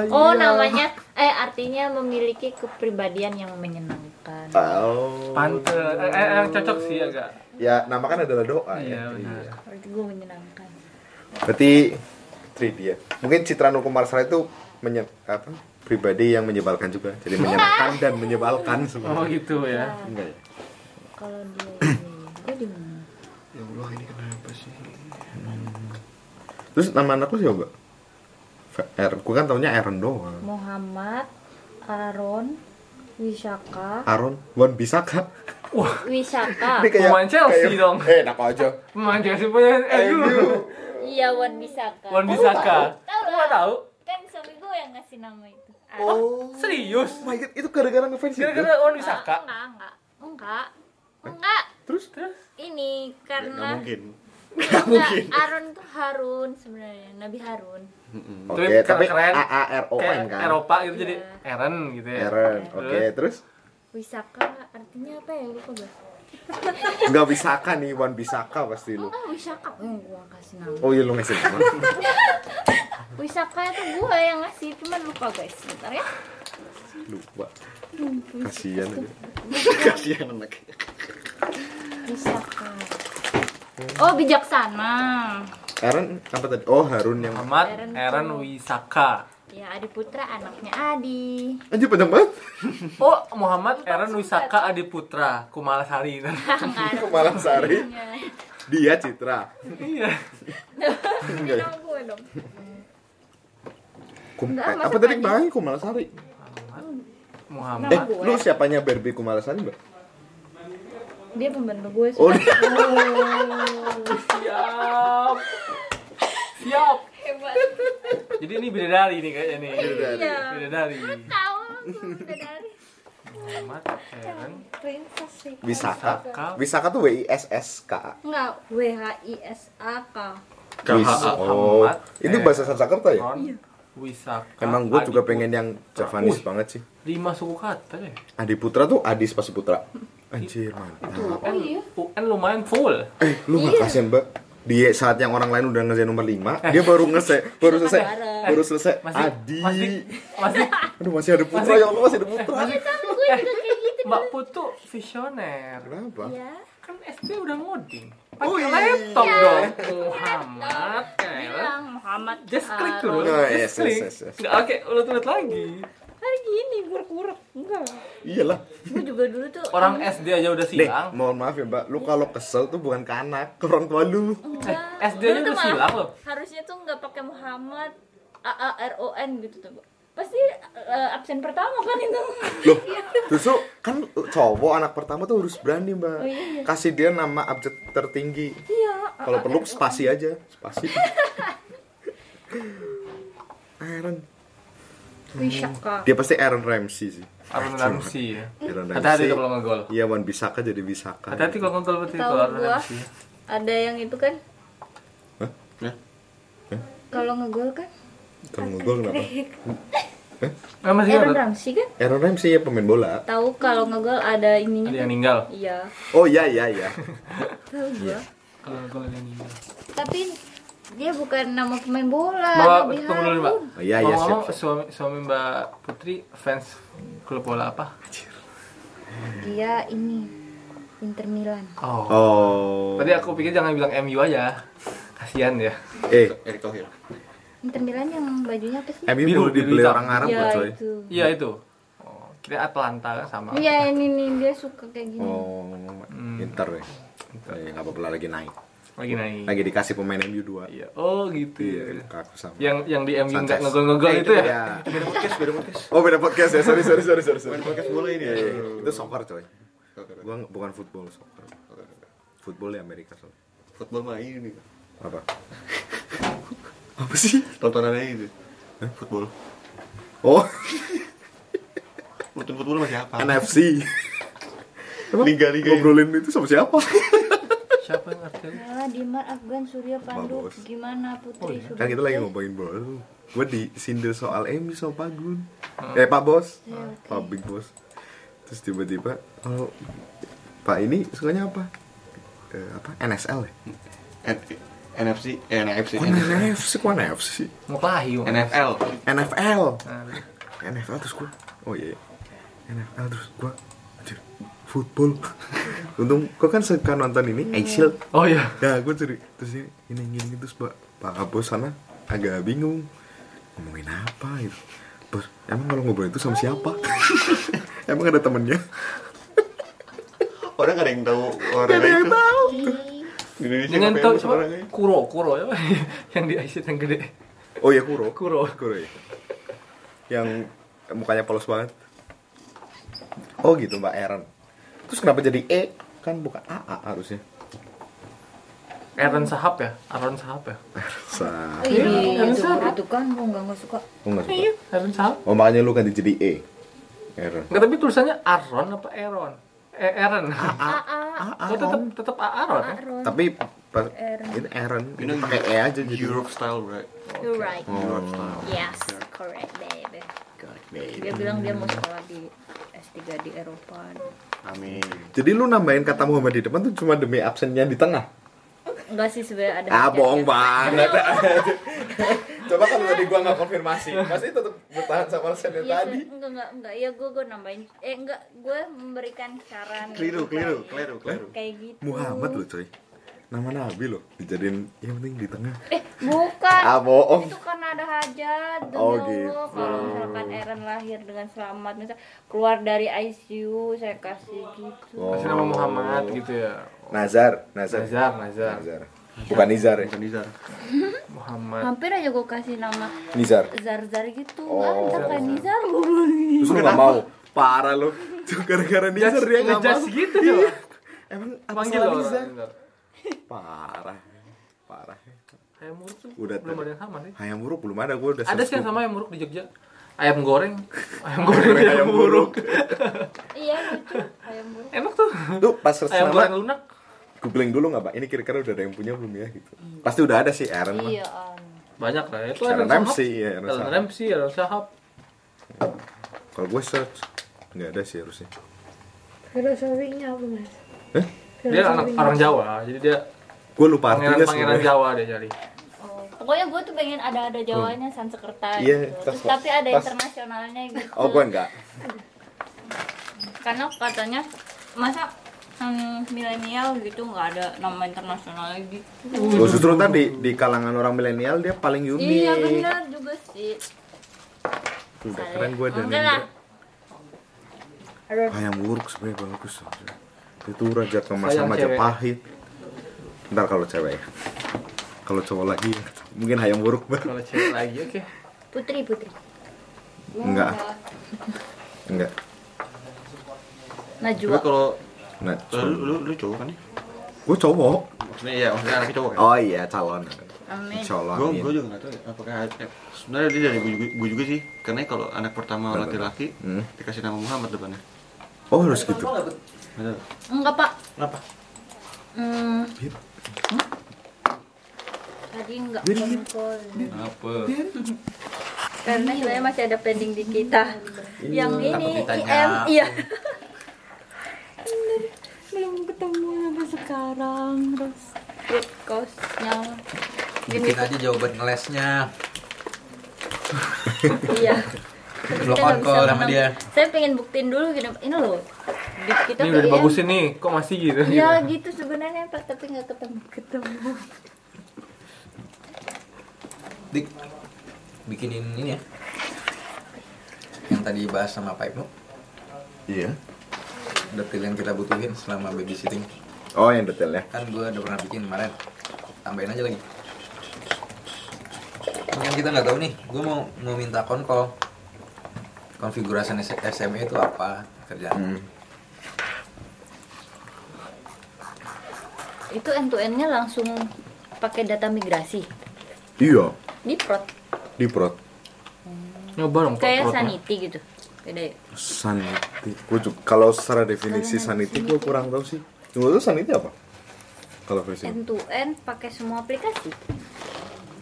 Oh, iya. namanya eh artinya memiliki kepribadian yang menyenangkan. Ah. Oh. pantes eh, eh, eh, cocok sih agak. Ya, nama kan adalah doa ya. Iya, benar. Iya. Berarti gue menyenangkan. Berarti Tri dia. Mungkin Citra Nukumarsara itu menye apa? pribadi yang menyebalkan juga. Jadi menyenangkan dan menyebalkan Oh semua. gitu ya. Enggak ya? Kalau dia ini, gue di mana? Ya Allah ini kenapa sih? Terus nama anakku siapa? Mbak? F- R. Gue kan taunya Aaron doang. Muhammad, Aaron, Wisaka, Aaron Wan Bisaka. Wisaka. Ini pemain Chelsea dong. Eh, enak aja. Pemain Chelsea punya Eh, MU. Iya, Wan Bisaka. Wan Bisaka. Tahu Gua lah. tahu. Kan suami gue yang ngasih nama itu. Oh. Serius? my god, itu gara-gara ngefans ya? itu. Gara-gara Wan Enggak, Bisaka. enggak, enggak. Enggak. Enggak. Terus Ini Eh? nggak karena mungkin enggak, Aaron tuh Harun sebenarnya, Nabi Harun. Oke, Tapi tapi keren. A A R O N Kayak kan. Eropa gitu jadi Aaron gitu ya. Aaron. Oke, terus Wisaka artinya apa ya? Lupa gue. nggak bisaka nih Wan Bisaka pasti lu. Enggak, Wisaka. Hmm, gue kasih nama. Oh iya lu ngasih nama. Wisaka itu gue yang ngasih, cuman lupa guys. Bentar ya. Lupa. Kasihan aja. kasihan anak Wisaka. Oh, bijaksana. Aaron apa tadi? Oh Harun yang Muhammad Aaron Aaron Wisaka. Ya, Adi Putra anaknya Adi. Anjir panjang banget. Oh, Muhammad Aaron Wisaka Adi Putra Kumalasari. Enggak ada Malam sehari punya. dia Citra. Iya. Ini nama gue dong. Kum, Enggak, eh, masa apa tadi tadi? bang Kumalasari? Muhammad. Eh, Nama gue. lu siapanya Barbie Kumalasari, Mbak? Dia pembantu gue. Oh, sumpah. Siap. Siap. Hebat. Jadi ini bidadari nih kayaknya nih. Bidadari. Iya. Bidadari. Tahu lu udah dari Muhammad Aaron princess sih. Wisaka. Wisaka. Wisaka tuh W I S S K A. Enggak, W H I S A K. Wis- Oh, Muhammad. itu Eh, bahasa Sanskerta ya? Aaron Wisaka. Emang gue juga Adi pengen yang Javanis Wih. banget sih. Putra. lima suku kata deh. Adi Putra tuh Adis pas Putra. Anjir, mantap. UN, UN lumayan full. Eh, lu Iya. nggak kasihan, Mbak? Dia saat yang orang lain udah ngerjain nomor 5, dia baru ngesek, baru selesai, baru selesai. Masih Adi. masih masih Eh, Aduh, masih ada Putra, Masih- ya Allah, masih ada Putra. Mbak Putu visioner. Kenapa? Iya. Kan SD udah ngoding. Oh, Pakai laptop Iya. dong. Laptop. Muhammad. Bilang Muhammad. Just Ah, klik Aaron. dulu. Oh, yes, Just klik. yes, yes, yes. Nggak, Oke, ulet-ulet lagi. Kan gini, urek-urek. Enggak. Iyalah. Gue juga dulu tuh Orang SD aja udah Nih, silang. mohon maaf ya mbak, Iya. lu kalau kesel tuh bukan ke anak, ke orang tua lu. SD aja eh, Dulu tuh udah malah silang loh. Harusnya tuh nggak pakai Muhammad A A R O N gitu tuh. Bu. Pasti eh, absen pertama kan itu. Loh, justru kan cowok anak pertama tuh harus berani mbak. Oh, iya, iya. Kasih dia nama abjad tertinggi. Iya. Kalau A-A-R-O-N. perlu spasi aja, spasi. Aaron, Wih, syaka. dia pasti Aaron Ramsey sih. Aaron Ramsey ya. Aaron Ramsey. Hati-hati tuh kalau ngegol. Iya, Wan Bisaka jadi Bisaka. Hati-hati kalau ngegol berarti Tahu kalau Aaron gua. Ramsey. Ada yang itu kan Hah? Hah? kalau ngegol kan? Kalau ngegol kenapa? Eh, masih Aaron ingat? Ramsey kan? Aaron Ramsey ya pemain bola. Tahu kalau ngegol ada ininya. Ada kan? yang ninggal. Iya. Oh iya iya iya. Tahu gua. Kalau ngegol ada yang ninggal. Tapi dia bukan nama pemain bola. Mbak, Nabi tunggu dulu, Mbak. Harun. Oh, iya iya siap. Ngomong-ngomong, siap. suami, suami Mbak Putri fans klub bola apa? Dia ini Inter Milan. Oh. Oh. Tadi aku pikir jangan bilang MU aja. Kasihan ya. eh, Erick Thohir Inter Milan yang bajunya apa sih? MU Biru, perlu biru dibeli hitam. orang Arab ya, nggak coy? itu. Iya itu. Oh, kira Atlanta kan sama. Iya, ini nih dia suka kayak gini. Oh, Inter ya. Eh, nggak apa-apa lagi naik. Lagi Hmm. naik. Lagi dikasih pemain MU 2. Iya. Oh gitu ya. Kaku Iya, sama. Yang yang di MU nggak Sanchez. Eh, iya. ngegol-ngegol itu ya. Eh, Beda podcast, beda podcast Oh, beda podcast ya. Sorry, sorry, sorry, sorry. sorry. Main podcast bola ini ya Iya, iya. Itu soccer coy. Gua nggak- bukan football, soccer. Football di Amerika soalnya. Football mah ini Apa? apa sih? Tontonannya itu Football Oh, Nonton football masih apa? NFC. Emang Liga-liga ini. Ngobrolin itu sama siapa? Siapa yang ngerti? Yalah, Dimar Ah, Afgan Surya Pandu Bagus. gimana Putri kan Surya? kita lagi ngomongin bola gue disindir soal Emi sama Pak Gun eh Pak Bos Pak Big Bos terus tiba-tiba oh, Pak ini sukanya apa Eh, apa NSL ya N- NFC Eh, NFC Kok NFC kok NFC sih Mau kelahi. mau. NFL NFL Nah, NFL terus gue oh iya NFL terus gue anjir football untung gue kan suka nonton ini Aisyil Oh iya. Nah, gue curi terus ini ini gini terus pak pak Kapos sana agak bingung ngomongin apa gitu. Bos, emang kalau ngobrol itu sama siapa? emang ada temennya? Orang gak ada yang tahu orang Ada yang itu tahu? Oh, Di Indonesia Dengan ngapain tahu sama coba orang ini? Kuro, Kuro ya. yang di ICT yang gede. Oh ya Kuro. Kuro. Kuro ya. Yang mukanya polos banget. Oh gitu Mbak Aaron. Terus kenapa jadi E? Kan bukan AA harusnya. Aaron Sahab ya? Aaron Sahab ya? Sa. Iya, Aaron itu, Sahab. itu kan gua nggak nggak suka. Oh, nggak suka. Aaron Sahab. Oh makanya lu ganti jadi E. Aaron. Enggak, tapi tulisannya Aaron apa Aaron? Eh, Aaron. Oh, tetap tetap Aaron. ya? Aaron. Tapi pas ini Aaron, ini pakai E aja jadi. Europe style right You're right. Oh, Europe style Yes, correct baby. Dia bilang dia mau sekolah di S3 di Eropa. Amin Jadi lu nambahin kata Muhammad di depan tuh cuma demi absennya di tengah. Enggak sih sebenarnya Ah, ada. hajatnya. bohong banget. Coba kalau tadi gua nggak konfirmasi, pasti tetap bertahan sama absen yang Iya, tadi. enggak enggak enggak. Ya gua gua nambahin. Eh enggak, gua memberikan saran. Keliru, keliru, keliru, keliru Kayak gitu. Muhammad lo coy. Nama Nabi loh, dijadiin yang penting di tengah. Eh, bukan. Ah, bohong. itu karena ada hajat demi Oh, Allah gitu. kalau misalkan Aaron lahir dengan selamat misal keluar dari ICU saya kasih gitu Kasih Oh. nama Muhammad gitu ya. Nazar, Nazar. Nazar, Nazar. Nazar. Bukan Nizar ya. Bukan Nizar Muhammad. hampir aja gue kasih nama Nizar. Zar Zar gitu Oh. ah ntar kan Nizar Terus lu nggak mau. Parah lu. Cuma Gara-gara Nizar dia nggak Ngejudge mau. Iya. gitu coba. Emang apa Panggil salah loh. Nizar? orang. Parah. Parah. Ayam muruk tuh Udah belum tadi. ada yang sama nih. Ayam buruk belum ada gua udah Ada sih yang search sama ayam muruk di Jogja. Ayam goreng, ayam goreng, ayam muruk. iya lucu ayam buruk Enak tuh. Tuh pas search Ayam nama goreng lunak. googling dulu nggak pak ini kira-kira udah ada yang punya belum ya gitu Hmm. pasti udah ada sih Aaron mah iya An. Banyak lah itu Aaron Sahab. Ramsey ya Aaron Aaron Sahab. Ramsey, Aaron Sahab. kalau gue search nggak ada sih harusnya Filosofinya apa mas? eh Dia anak orang Jawa, jadi dia gue lupa artinya pangeran-pangeran sebenarnya Jawa dia cari. Oh, pokoknya gue tuh pengen ada ada Jawanya Sanskerta Iya, gitu. tas- Terus, tapi ada tas- internasionalnya gitu oh gue enggak karena katanya masa yang milenial gitu nggak ada nama internasionalnya gitu. Oh, justru tadi di kalangan orang milenial dia paling unik. Iya benar juga sih. Udah keren gue dan Enggak lah. Ah yang buruk sebenarnya bagus. Itu Raja Kemas Sayang sama cewek. Majapahit. Ntar kalau cewek ya. Kalau cowok lagi ya. mungkin hayam buruk banget. Kalau cewek lagi oke. Putri Putri. Enggak. Enggak. Tapi Najwa. kalau Nah, lu, lu, lu cowok kan ya? Gue cowok. Maksudnya iya, maksudnya anaknya cowok kan? Oh iya calon. iya. Amin. Insya Allah. Gue amin. gue juga nggak tahu ya, apakah eh, sebenarnya dia dari gue juga, gua juga sih karena kalau anak pertama laki-laki Hmm. dikasih nama Muhammad depannya. Oh harus gitu. Betul. Enggak pak. Kenapa? Hmm. Hmm? Tadi enggak Bip. konkol. Apa? Kan? Karena sebenarnya masih ada pending di kita. Yang ini Takut ditanya. IM iya. Belum ketemu sampai sekarang terus root cause-nya Bikin aja jawaban ngelesnya. iya. Kita Blok nggak on call bisa sama menang. dia. Saya pengen buktiin dulu gini, ini loh. Di kita Ini udah tuh IM. dibagusin nih, kok masih gitu? Ya gitu sebenarnya Pak, tapi nggak ketemu ketemu. Dik, bikinin ini ya. Yang tadi bahas sama Pak Ibnu, Iya. detail yang kita butuhin selama babysitting. Oh yang detailnya. Kan gue udah pernah bikin kemarin. Tambahin aja lagi. Kan kita nggak tahu nih, gue mau mau minta konkol. Konfigurasi SMA itu apa kerjaan? Itu end to end-nya langsung pakai data migrasi Iya. di prod Di prod. Nyoba dong. kayak sanity gitu. Beda ya? Sanity. Gue juga kalau secara definisi sanity gue kurang tahu sih. Menurut lu sanity apa? Kalau versi end to end pakai semua aplikasi.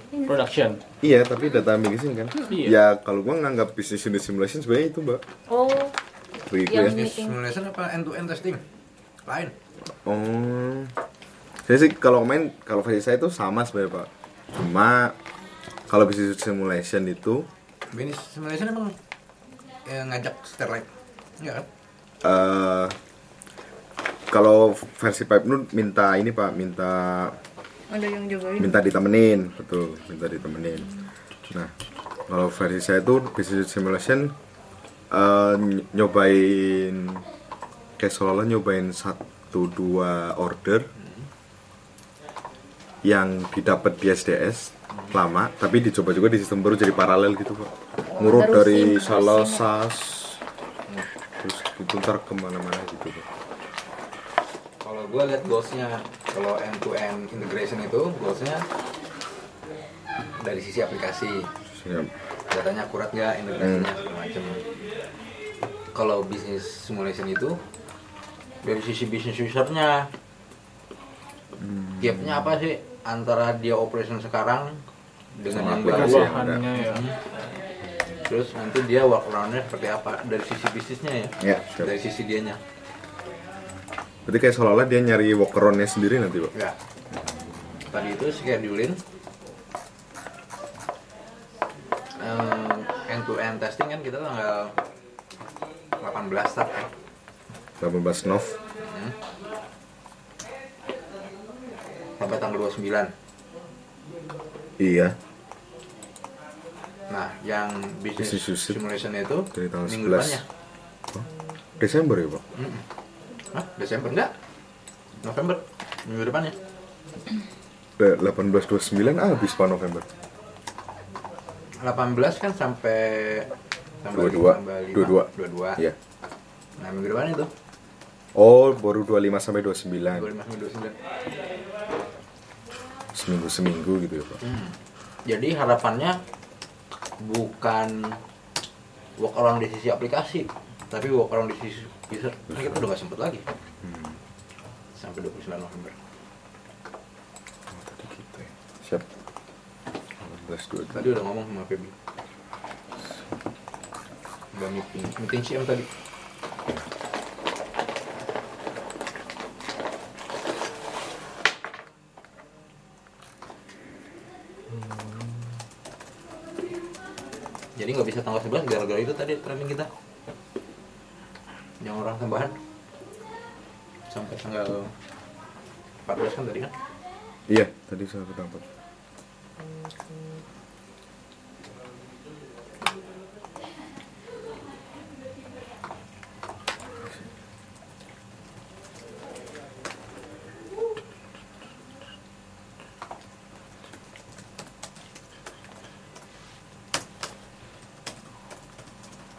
Production. Iya, tapi data amazing kan. Iya. Ya kalau gua nganggap business unit simulation sebenarnya itu, Mbak. Oh, Bagi gue Yang ya. meeting. Simulation apa end to end testing? Lain. Oh. Saya sih kalau main kalau versi saya itu sama sebenarnya, Pak. Cuma kalau business unit simulation itu Bisnis simulation emang eh, ngajak Starlight. Enggak kan? eh kalau versi Pipe Nun minta ini, Pak, minta ada yang jagain. minta ditemenin, betul, minta ditemenin. Nah, kalau versi saya itu business unit simulation eh, ny- nyobain kayak seolah nyobain satu dua order yang didapat di SDS lama tapi dicoba juga di sistem baru jadi paralel gitu pak ngurut dari salasas terus gitu ntar kemana-mana gitu pak Kalau gue lihat goalsnya, kalau end to end integration itu goalsnya dari sisi aplikasi, Siap. datanya akurat nggak, Hmm. integrasinya segala macam. Kalau bisnis simulation itu dari sisi bisnis usernya, Hmm. gapnya apa sih antara dia operation sekarang Sama dengan yang aplikasi baru? yang ada. Bahannya ya. Terus nanti dia workaroundnya seperti apa dari sisi bisnisnya ya? Iya, siap. Dari sisi dianya. berarti kayak seolah-olah dia nyari walkaroundnya sendiri nanti pak Enggak. Ya. Tadi itu scheduling end to end eh, testing kan kita tanggal 18 start kan. 18 nov Hmm. Sampai tanggal 29. iya Nah, yang business Business usage. simulation itu dari tanggal minggu ya? 11 depannya. Hah? Desember ya pak Mm-mm. Hah? Desember enggak? November minggu ya? depannya. Eh, 1829 habis pak November 18 kan sampai tambah 22. lima, tambah lima, 22. 22. iya Nah, minggu depan itu oh baru 25 sampai 29 25 minggu 29. seminggu seminggu gitu ya pak Hmm. Jadi harapannya bukan work around di sisi aplikasi, tapi work around di sisi user. Ini kita udah gak sempet lagi. Sampai 29 November. Tadi gitu ya. Siap. 18 Tadi udah ngomong sama Feby. Udah meeting, meeting CM tadi. Jadi nggak bisa tanggal 11 gara-gara itu tadi training kita. Yang orang tambahan. sampai tanggal 14 kan tadi kan Iya, tadi saya ketangkep.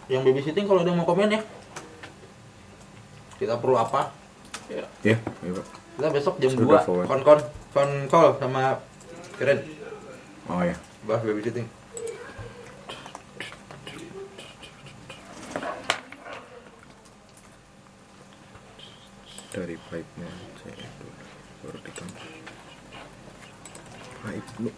yang babysitting kalau ada yang mau komen ya kita perlu apa Iya, iya Pak. kita besok jam Sudah 2 forward. kon kon kon call sama Keren Oh ya. bahas babysitting Dari pipe-nya saya itu baru ditambah. Pipe lu.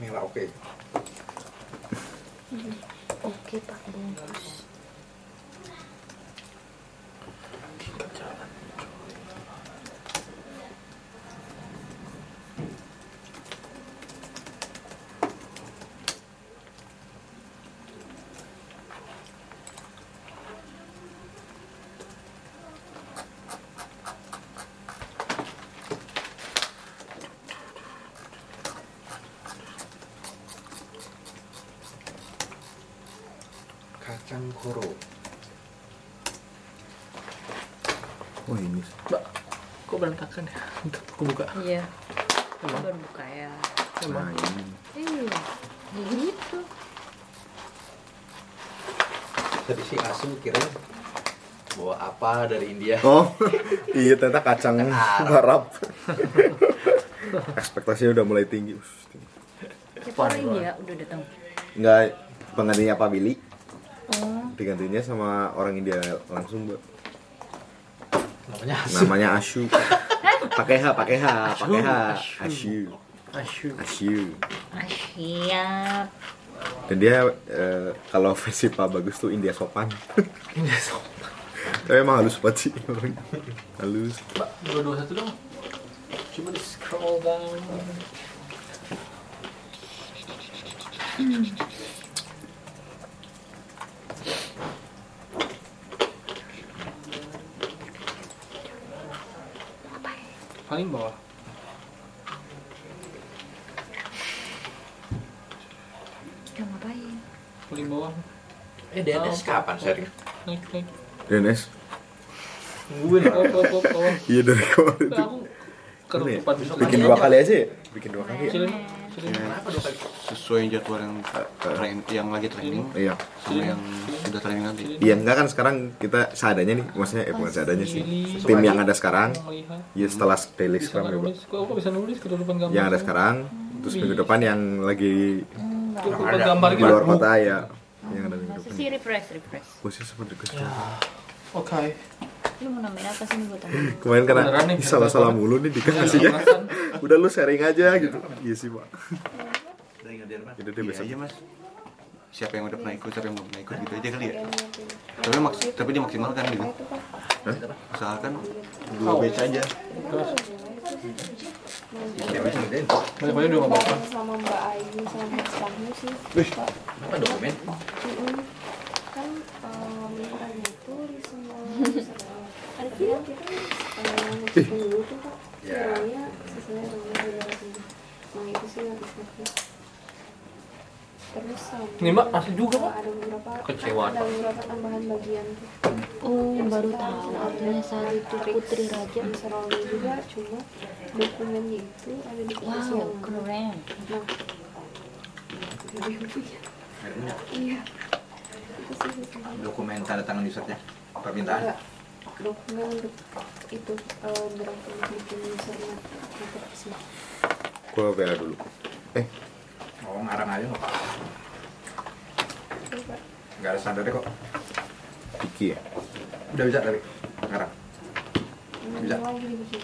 Mila oke Oke Pak Bungkus. kacang koro Oh ini. Mbak, kok berantakan ya? Bentar, aku buka. Iya. Emang? Baru buka ya. Nah, ini. Iya. Ya gitu. tadi si Asu Keren bawa apa dari India Oh, iya ternyata kacang Arab. Ekspektasinya udah mulai tinggi. Us, tinggi. Siapa orang India udah datang? Enggak penggantinya Pak Billy, Oh. digantinya sama orang India langsung, Mbak. namanya Asu Namanya Ashu. Pakai H, pakai H, pakai H. Ashu. Asyu. Ashu. Ah, siap. Dan dia eh, kalau versi Pak Bagus tuh India sopan. India sopan. Tapi emang halus banget sih orangnya. Halus. Mbak, dua dua satu dong. Coba di scroll down. Paling bawah. Udah ngapain? Paling bawah. eh DNS kapan sharing Naik naik. Dennis. Gue nih. Bawah bawah bawah. Iya dari kemarin Udah, tuh. aku Ini Iya. ya? kerupan besok Bikin lagi dua aja. kali aja ya? Bikin dua kali ya? Silin. Silin. kenapa dua kali sesuai jadwal yang train- yang lagi training Iya. sama yang udah training nanti Iya enggak kan sekarang kita seadanya nih, maksudnya eh bukan seadanya sih. Tim yang ada sekarang, Melihat. ya setelah daily Bisa scrum nggak ya, Pak. nulis? Kok kok bisa nulis kedudukan gambar? Yang Ya, ada sekarang, terus minggu Iya. depan yang lagi Kedudukan gambar di gitu. luar kota ya. Yang ada minggu depan. Masih sih refresh, refresh. Posisi seperti itu. Ya. Oke. Lu mau nambahin apa sih nih gue tanya? Kemarin karena Beneran Iya, nih, ih, salah-salah mulu nih dikasih ya. Udah lu sharing aja gitu. Iya sih, Pak. dari ngadir mas Jadi dia Iya besok. aja mas siapa yang udah pernah ikut siapa yang belum pernah ikut gitu aja kali ya tapi maks tapi dimaksimalkan gitu usahakan dua batch aja siapa yang ngadain Banyak banyak dua apa-apa. sama Mbak Ayu sama Mas Bayu sih. Pak. apa dokumen Mm-mm. Kan eh, ngomongin orang itu di semua semua- kan bilang kita eh, ngucapin dulu tuh Pak. Ya. Kiranya sesuai dengan budaya sendiri. Nah itu sih yang aku lakukan. Terus sama Ini mbak asli juga mbak. ada beberapa Kecewa, ada Pak. beberapa tambahan bagian tuh. Oh, Yang baru suka tahu ada artinya saat itu matrix, Putri Raja. bisa rolling juga cuma dokumennya itu ada di kursi Wow, yang keren. Nah, Iya. Itu sih Ah. sebenarnya. dokumen tanda tangan usernya ya. permintaan Enggak. Dokumen untuk itu eh, draft yang bikin usernya gitu sih. Gua WA dulu. Eh, oh ngarang aja nggak apa-apa Coba. nggak ada standarnya kok Diki ya. udah bisa tapi ngarang Ini Bisa. lagi dibikin.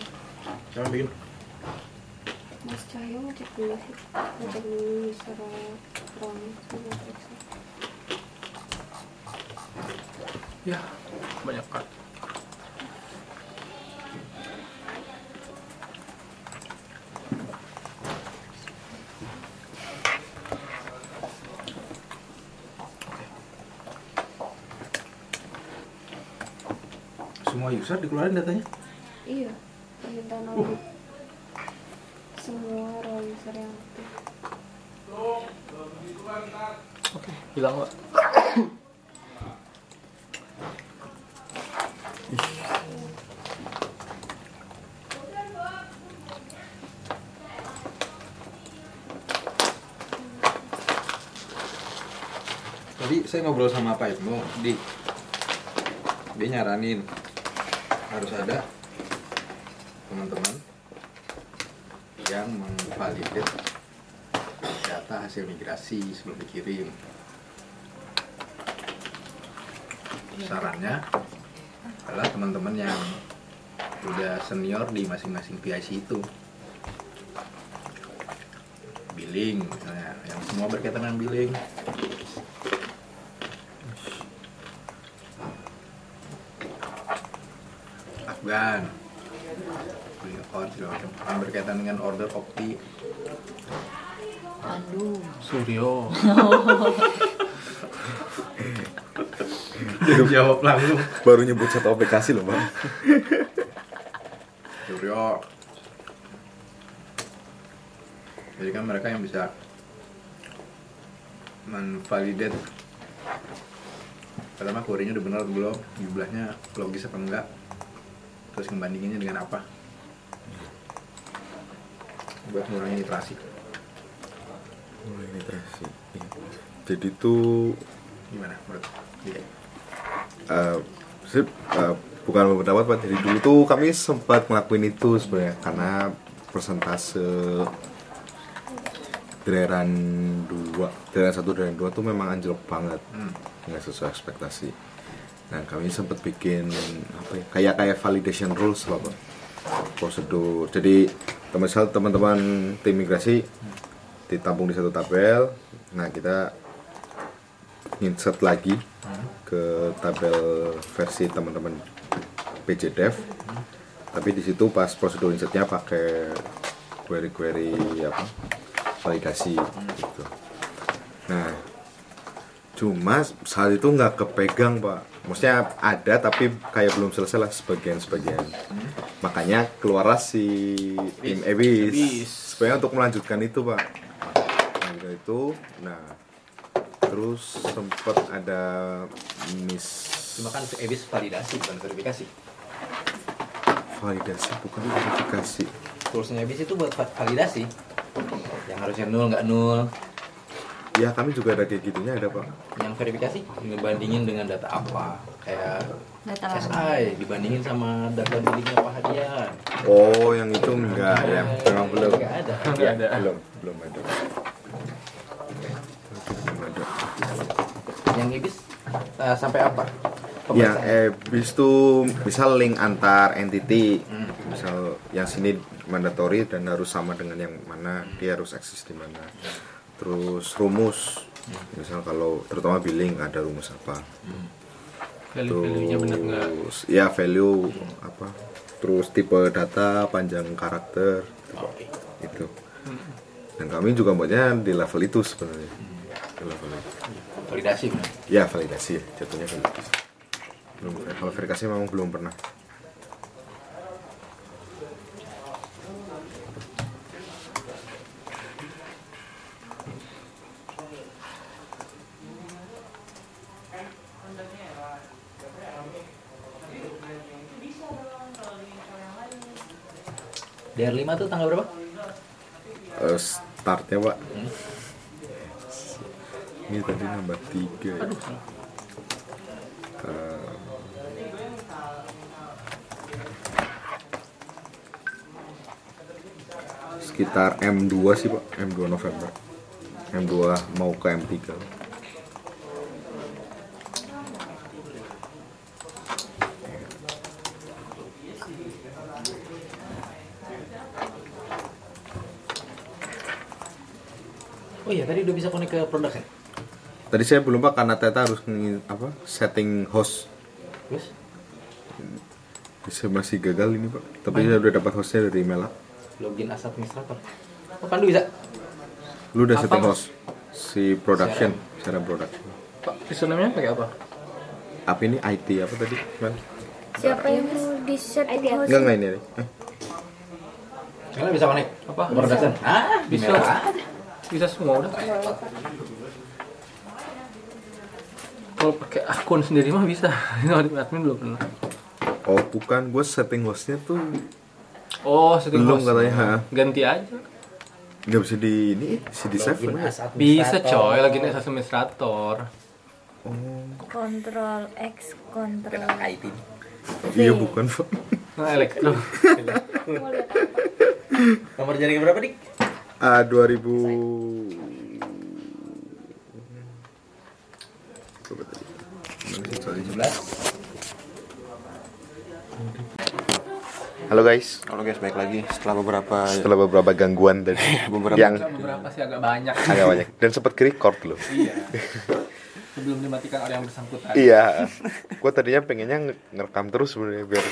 siapa yang bikin Mas Cahyo ngecek dulu sih. Ngecek dulu user Roni sama Trixie. Ya, banyak kan. Semua user dikeluarin datanya? Iya, permintaan audit semua role user yang aktif. hilang pak Tadi saya ngobrol sama Pak Ibnu, di dia nyaranin harus ada teman-teman yang memvalidate data hasil migrasi sebelum dikirim. Sarannya adalah teman-teman yang udah senior di masing-masing PIC itu billing misalnya yang semua berkaitan dengan billing Afgan Beli account segala macam yang berkaitan dengan order opti Pandu. Suryo jawab langsung baru nyebut satu aplikasi loh bang Suryo jadi kan mereka yang bisa menvalidate pertama query-nya udah benar atau belum jumlahnya logis apa enggak terus ngebandinginnya dengan apa buat ngurangin literasi mulai literasi Iya. jadi tuh gimana menurut dia eh sip, eh, bukan berpendapat pak jadi dulu tuh kami sempat ngelakuin itu sebenarnya karena persentase daerah dua daerah satu daerah dua tuh memang anjlok banget Hmm. nggak sesuai ekspektasi nah kami sempat bikin apa ya kayak kayak validation rules lah Pak. prosedur jadi misal teman-teman tim migrasi ditampung di satu tabel nah kita insert lagi ke tabel versi teman-teman PJDev tapi di situ pas prosedur insertnya pakai query-query apa validasi gitu nah cuma saat itu nggak kepegang pak maksudnya ada tapi kayak belum selesai lah sebagian sebagian makanya keluar si tim Ebis supaya untuk melanjutkan itu pak Melanjutkan itu nah terus sempat ada miss cuma kan EBIS validasi bukan verifikasi validasi bukan verifikasi toolsnya EBIS itu buat va- validasi yang harusnya nul nggak nul ya kami juga ada kayak gitunya ada pak yang verifikasi ngebandingin dengan data apa kayak Data Ah. SI dibandingin sama data belinya Pak Hadian oh yang itu enggak ya memang belum Eh, Nggak ada. Iya, belum belum ada yang EBIS eh, sampai apa yang EBIS tuh eh, misal link antar entity misal yang sini mandatory dan harus sama dengan yang mana dia harus eksis di mana terus rumus misal kalau terutama billing ada rumus apa value-value-nya bener nggak terus ya value apa terus tipe data panjang karakter itu dan kami juga buatnya di level itu sebenarnya di level itu validasi benar. ya validasi jatuhnya validasi belum eh, kalau verifikasi memang belum pernah DR5 tuh tanggal berapa? Eh, startnya pak Hmm? ini tadi nambah tiga ya. Eh, sekitar M2 sih pak M2 November M2 mau ke M3 Oh iya tadi udah bisa connect ke produk ya? tadi saya belum pak karena Teta harus ngi- apa setting host Terus? Saya masih gagal ini pak tapi saya udah dapat hostnya dari Mela Login as administrator. Oh, Pandu bisa? lu udah Apa, setting Mas? host si production secara production pak username-nya pakai apa apa ini IT apa tadi Mel? Siapa yang di set host? Enggak enggak Kan? ini. Eh, ini. Kalian bisa konek? Apa? Nomor Bisa. dasar? Ah, Bisa. merah. Bisa semua udah. Kalau pakai akun sendiri mah bisa. Kalau di admin belum pernah. Oh bukan, gue setting hostnya tuh Oh, setting Belum host. katanya, ha. Ganti aja. nggak bisa di ini, bisa di save. Login kan? as Bisa coy, lagi nih administrator. Kontrol X, kontrol. IT. Iya bukan. Pak. Nah, elektro. Nomor jaringan berapa, Dik? Ah 2000 Halo guys. Halo guys, baik lagi setelah beberapa Setelah beberapa gangguan tadi Beberapa yang Beberapa sih agak banyak. agak banyak dan sempat ke record loh. Iya. Sebelum dimatikan orang yang bersangkutan. Iya. Gue tadinya pengennya nge- ngerekam terus sebenarnya biar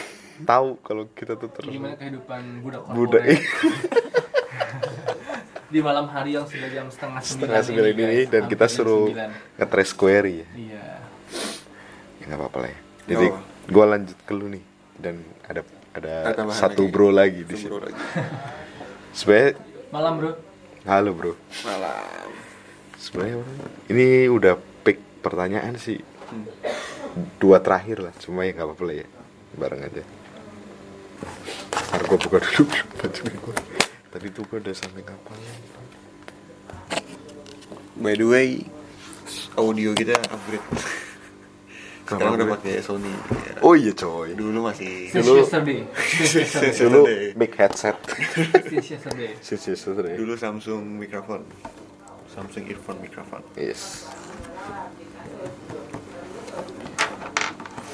tahu kalau kita tuh terus Gimana kehidupan budak Budak. korporat? di malam hari yang sudah jam setengah sembilan. setengah sembilan ini guys, dan kita hampir jam suruh sembilan. ngetrace query ya. Iya. Ya, nggak apa-apa lah. Ya. Nggak Jadi apa. gue lanjut ke lu nih dan ada ada Ada tambahan satu lagi. bro lagi di sini. Sebenarnya Malam bro. halo bro. Malam. Sebenarnya orang- ini udah pick pertanyaan sih dua terakhir lah cuma ya nggak apa-apa lah ya bareng aja. Ntar gue buka dulu baju gue. Tadi tuh gue udah sampai kapan? By the way, audio kita upgrade. Sekarang udah upgrade? pakai Sony. Ya. Oh iya coy. Dulu masih Since Dulu- yesterday. Since yesterday. Dulu big headset. Since yesterday. Since yesterday. Dulu Samsung mikrofon. Samsung earphone mikrofon. Yes.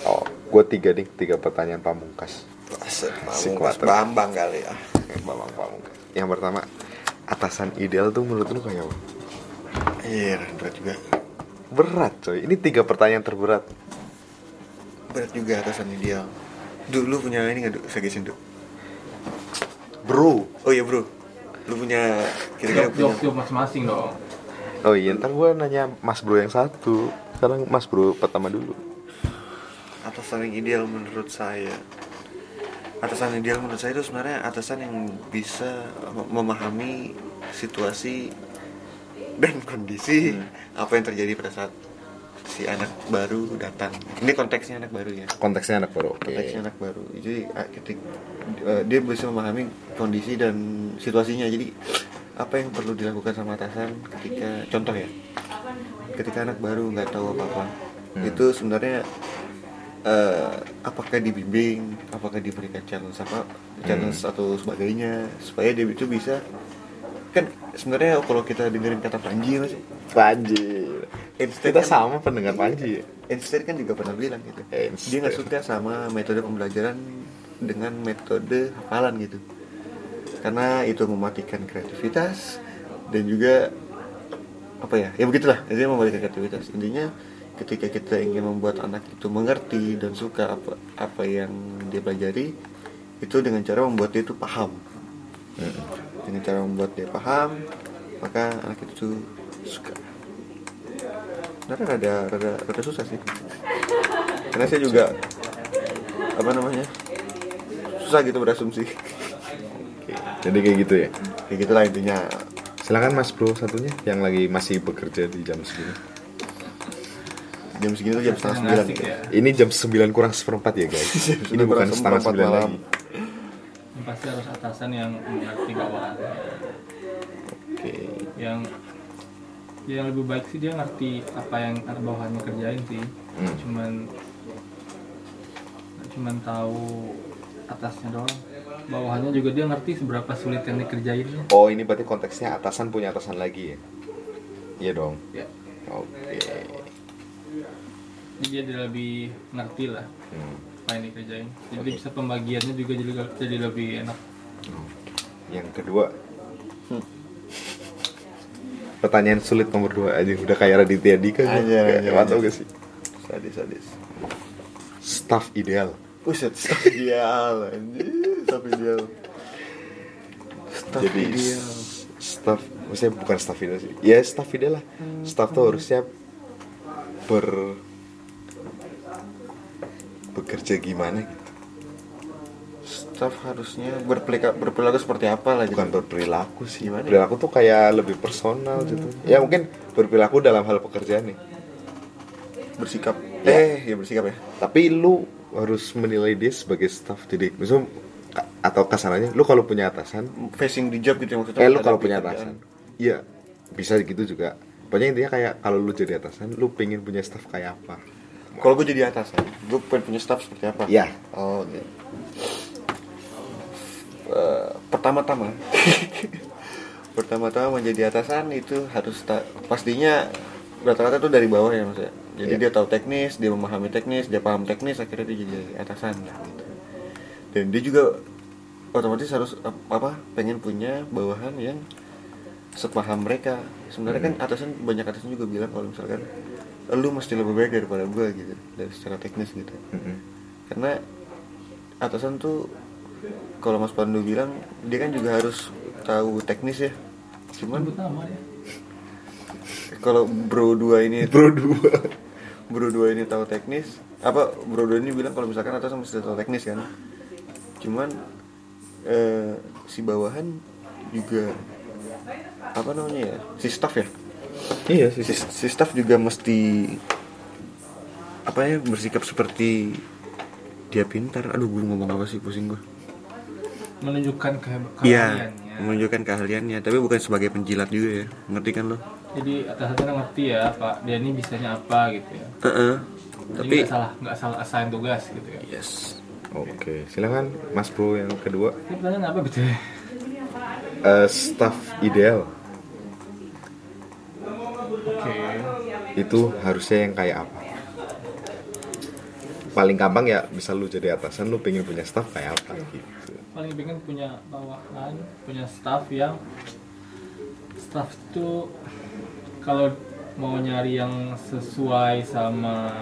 Oh, gue tiga nih, tiga pertanyaan pamungkas. Asik, Asik, Pamungkas mantap. Bambang kali ya. Bambang pamungkas. Yang pertama, atasan ideal tuh menurut lu kayak apa? Iya, berat juga. Berat coy, ini tiga pertanyaan terberat. Berat juga atasan ideal. Dulu punya ini nggak Duk? segi senduk. Bro. Oh iya bro, lu punya kira-kira Iya, Job job punya job masing-masing dong. Oh iya, ntar gue nanya Mas Bro yang satu. Sekarang Mas Bro pertama dulu. atasan yang ideal menurut saya. Atasan ideal menurut saya itu sebenarnya atasan yang bisa mem- memahami situasi dan kondisi apa yang terjadi pada saat si anak baru datang. Ini konteksnya anak baru ya. Konteksnya anak baru, oke. konteksnya anak baru jadi ah, ketik- eh, dia bisa memahami kondisi dan situasinya jadi apa yang perlu dilakukan sama atasan ketika contoh ya ketika anak baru nggak tahu apa apa Hmm. itu sebenarnya eh, apakah dibimbing apakah diberikan challenge apa challenge atau sebagainya supaya dia itu bisa kan sebenarnya kalau kita dengerin kata panji mas Panji. Kita sama pendengar Panji ya? Einstein kan juga pernah bilang gitu Einstein. kan dia nggak suka sama metode pembelajaran dengan metode hafalan gitu karena itu mematikan kreativitas dan juga apa ya ya begitulah jadi mematikan kreativitas intinya ketika kita ingin membuat anak itu mengerti dan suka apa apa yang dia pelajari itu dengan cara membuat dia itu paham dengan cara membuat dia paham maka anak itu tuh suka Sebenarnya rada, rada, rada susah sih Karena saya juga Apa namanya Susah gitu berasumsi Jadi kayak gitu ya. Ya gitulah intinya Silakan Mas Bro satunya yang lagi masih bekerja di jam segini. Jam segini tuh jam setengah Yang sembilan asik ya. Ini jam 9 kurang seperempat ya guys. Ini bukan setengah 9 lagi. Yang Pasti harus atasan yang mengerti bawahan. Oke. Yang ya yang lebih baik sih dia ngerti apa yang anak bawahannya kerjain sih. Hmm. Cuman nggak cuman tahu atasnya doang. Bawahannya juga dia ngerti seberapa sulit yang dikerjain. Oh ini berarti konteksnya atasan punya atasan lagi ya? Iya dong. Ya. Oke. Jadi dia udah lebih ngerti lah Hmm. apa yang dikerjain. Jadi dia bisa pembagiannya juga jadi jadi lebih enak. Yang kedua. Pertanyaan sulit nomor dua aja udah kayak Raditya Dika kan? Aja, aja, Mantap aja. gak sih? Sadis, sadis Staff ideal. Buset, staff ideal anjir, Staff ideal Staff Jadi ideal s- staff, maksudnya bukan staff ideal sih. Ya staff ideal lah. Hmm, Staff tuh harusnya ber bekerja gimana gitu. staff harusnya berperilaku, berperilaku seperti apa lah gitu. bukan berperilaku sih ya? berperilaku tuh kayak lebih personal gitu Hmm. ya mungkin berperilaku dalam hal pekerjaan nih bersikap eh ya bersikap ya tapi lu harus menilai dia sebagai staff jadi misalnya ka- atau kasarannya lu kalau punya atasan facing the job gitu ya maksudnya eh lu menghadapi kalau punya kerjaan. atasan iya bisa gitu juga pokoknya intinya kayak kalau lu jadi atasan lu pengen punya staff kayak apa Kalau gue jadi atasan, gue pengen punya staff seperti apa? Iya. Oh, oke. Eh, pertama-tama, pertama-tama menjadi atasan itu harus ta- pastinya rata-rata tuh dari bawah ya maksudnya. Jadi Iya. dia tahu teknis, dia memahami teknis, dia paham teknis, akhirnya dia jadi atasan lah, gitu. Dan dia juga otomatis harus ap- apa? Pengen punya bawahan yang sepaham mereka. Sebenarnya kan atasan banyak atasan juga bilang kalau misalkan lu mesti lebih baik daripada gue gitu dari secara teknis gitu karena atasan tuh kalau Mas Pandu bilang dia kan juga harus tahu teknis ya cuman kalau bro dua ini bro dua bro dua ini tahu teknis apa bro dua ini bilang kalau misalkan atasan mesti tahu teknis kan cuman eh, si bawahan juga apa namanya ya si staff ya iya si, si staff juga mesti apa ya bersikap seperti dia pintar aduh gue ngomong apa sih pusing gue menunjukkan kehe- iya keahliannya. menunjukkan keahliannya tapi bukan sebagai penjilat juga ya ngerti kan lo Jadi atasannya ngerti ya, Pak. Dia ini bisanya apa gitu ya. Heeh. Jadi tapi nggak salah, nggak salah assign tugas gitu ya. Yes. oke silakan mas bro yang kedua Ini pertanyaan apa betul? Eh, staff ideal Oke. itu harusnya yang kayak apa paling gampang ya misal lu jadi atasan lu pengen punya staff kayak apa gitu Paling pengen punya bawahan, punya staff yang staff itu kalau mau nyari yang sesuai sama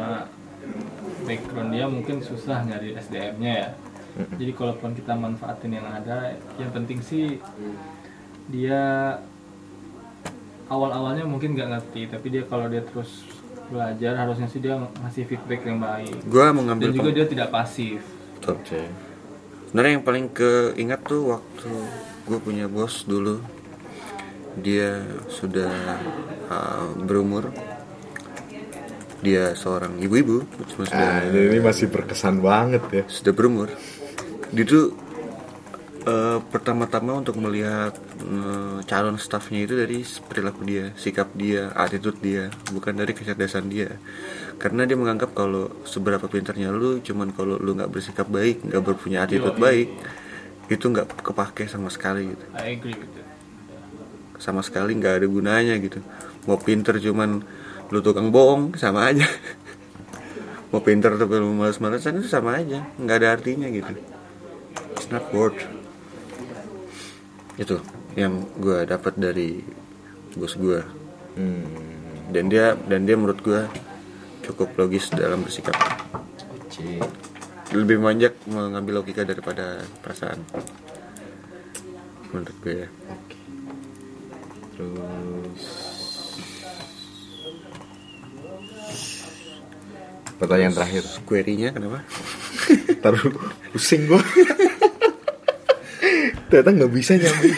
background dia mungkin susah nyari SDM-nya ya. Jadi kalaupun kita manfaatin yang ada, yang penting sih dia awal-awalnya mungkin nggak ngerti, tapi dia kalau dia terus belajar harusnya sih dia ngasih feedback yang baik. Gua Dan mengambil juga peng- dia tidak pasif. Oke. Sebenarnya yang paling keingat tuh waktu gue punya bos dulu, dia sudah uh, berumur, dia seorang ibu-ibu, cuma Ah, ini masih berkesan banget ya. Sudah berumur. Dia tuh uh, pertama-tama untuk melihat uh, calon staffnya itu dari perilaku dia, sikap dia, attitude dia, bukan dari kecerdasan dia. Karena dia menganggap kalau seberapa pintarnya lu, cuman kalau lu nggak bersikap baik, nggak berpunya attitude Yoi. baik, itu nggak kepake sama sekali gitu I agree with that. sama sekali nggak ada gunanya gitu mau pinter cuman lu tukang bohong sama aja mau pinter tapi lu males-malesan itu sama aja nggak ada artinya gitu it's not worth itu yang gue dapat dari bos gue dan dia dan dia menurut gue cukup logis dalam bersikap lebih manjak mengambil logika daripada perasaan menurut gue ya Terus pertanyaan terakhir. Query-nya kenapa? Taruh pusing gua. Ternyata nggak bisa nyambung.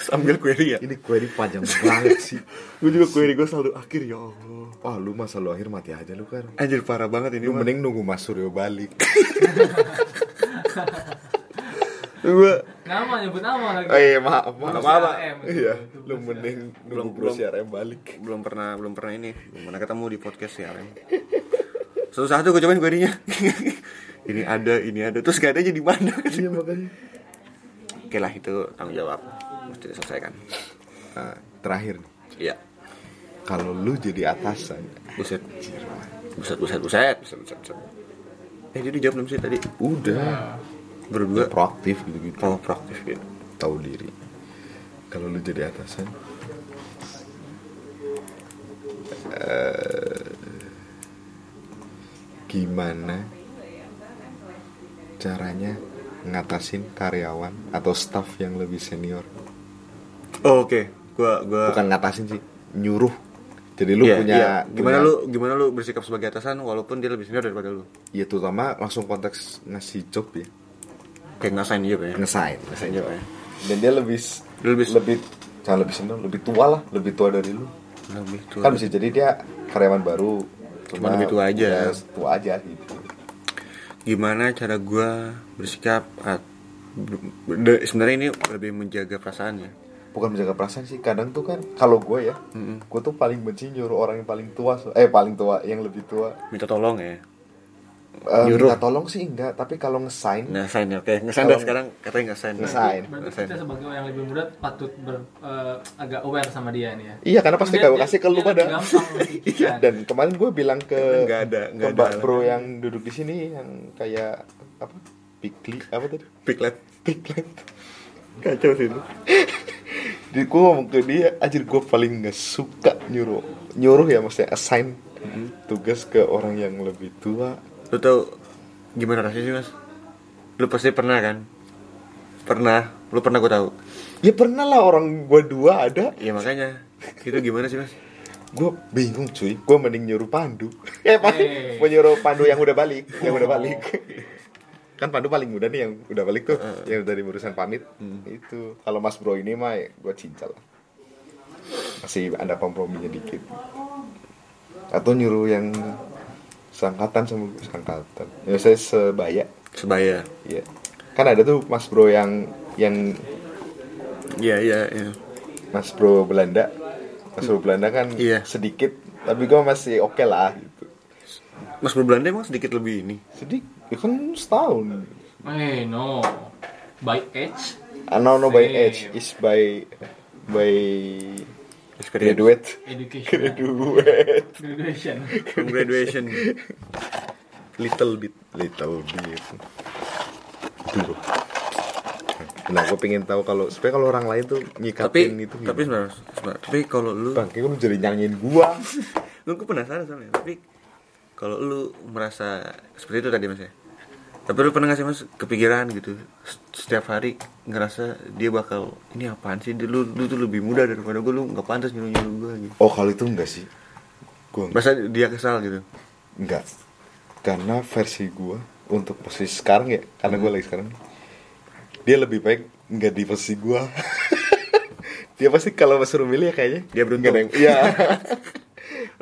Sambil query ya. Ini query panjang banget sih. gue juga query gue selalu akhir ya Allah. Wah lu masa lu akhir mati aja lu kan. Anjir parah banget ini. Lu mending nunggu Mas Suryo balik. Gua Nama nyebut nama lagi. Oh iya maaf maaf. Maaf, Pak. Iya, lu mending nunggu Bro CRM balik. belum pernah belum pernah ini belum pernah ketemu di podcast ya Rem satu satu gue cobain querynya ini ada ini ada terus gak ada jadi mana iya makanya oke lah itu tanggung jawab mesti diselesaikan Nah, terakhir nih. iya Kalau lu jadi atasan, buset buset buset buset buset buset, buset. eh jadi jawab belum sih tadi udah berdua proaktif gitu gitu. oh proaktif gitu tahu diri kalau lu jadi atasan eh, gimana caranya ngatasin karyawan atau staff yang lebih senior oh, oke gua gua bukan ngatasin sih nyuruh jadi lu Iya, punya iya. gimana punya- lu gimana lu bersikap sebagai atasan walaupun dia lebih senior daripada lu ya terutama langsung konteks ngasih job ya kayak ngasain juga ya ngesain ngesain juga ya dan dia lebih lebih lebih nah, lebih seneng lebih tua lah lebih tua dari lu lebih tua kan bisa jadi dia karyawan baru Cuma lebih tua aja. ya, tua aja gitu gimana cara gua bersikap at- de- sebenarnya ini lebih menjaga perasaan ya bukan menjaga perasaan sih kadang tuh kan kalau gue ya gue tuh paling benci nyuruh orang yang paling tua so- eh paling tua yang lebih tua minta tolong ya Eh, Nyuruh. minta tolong sih enggak tapi kalau ngesain ngesain ya oke ngesain dah Kalau- sekarang katanya ngesain Ngesain. Berarti kita sebagai orang yang lebih muda patut ber- eh, agak aware sama dia nih ya. Iya karena pasti Kemudian gue kasih ke lu dia- dia pada. gampang. Iya dan kemarin gue bilang ke Nggak ada- nggak ke ada Mbak Bro alasan. yang duduk di sini yang kayak apa? Pikli apa tadi? Piglet. Piglet. Kacau sih itu. Jadi gue ngomong ke dia, anjir gue paling nggak suka nyuruh nyuruh ya maksudnya assign tugas ke orang yang lebih tua. lu tau gimana rasanya sih mas lu pasti pernah kan pernah lu pernah gua tahu Ya pernah lah orang gue dua ada. Iya makanya itu gimana sih mas Gue bingung cuy, gue mending nyuruh Pandu. eh paling gue nyuruh Pandu yang udah balik, yang udah balik. kan Pandu paling muda nih yang udah balik tuh, yang dari urusan pamit itu. Kalau Mas Bro ini mah gue cincel lah. Masih ada komprominya dikit. Atau nyuruh yang sangkatan sama gue, sangkatan. Ya saya sebaya. sebaya Iya. Kan ada tuh Mas Bro yang yang iya iya iya Mas Bro Belanda. Mas Bro Belanda kan sedikit, tapi gue masih oke lah gitu. Mas Bro Belanda emang sedikit lebih ini? Sedikit, ya kan setahun. Eh no, by age. Ah, no, no by Eh, age, is by by Experience. graduate. Education. Graduate. Graduation. From graduation. Little bit. Little bit. Dulu. Nah, gue pengen tahu kalau supaya kalau orang lain tuh nyikapin tapi itu. tapi sebentar, Mas. Sebentar. tapi kalau lu Bang, kayak lu jadi nyanyiin gua. lu gue penasaran soalnya tapi kalau lu merasa seperti itu tadi mas ya tapi lu pernah nggak sih mas kepikiran gitu s- setiap hari ngerasa dia bakal ini apaan sih Dia- lu lu tuh lebih muda daripada gue lu nggak pantas nyuruh nyuruh gue gitu Oh, kalau itu enggak sih. Gua enggak. masa dia kesal gitu Enggak. Karena versi gua untuk posisi sekarang ya, karena gua lagi sekarang dia lebih baik nggak di posisi gua. dia pasti kalau suruh milih ya kayaknya dia beruntung. Iya.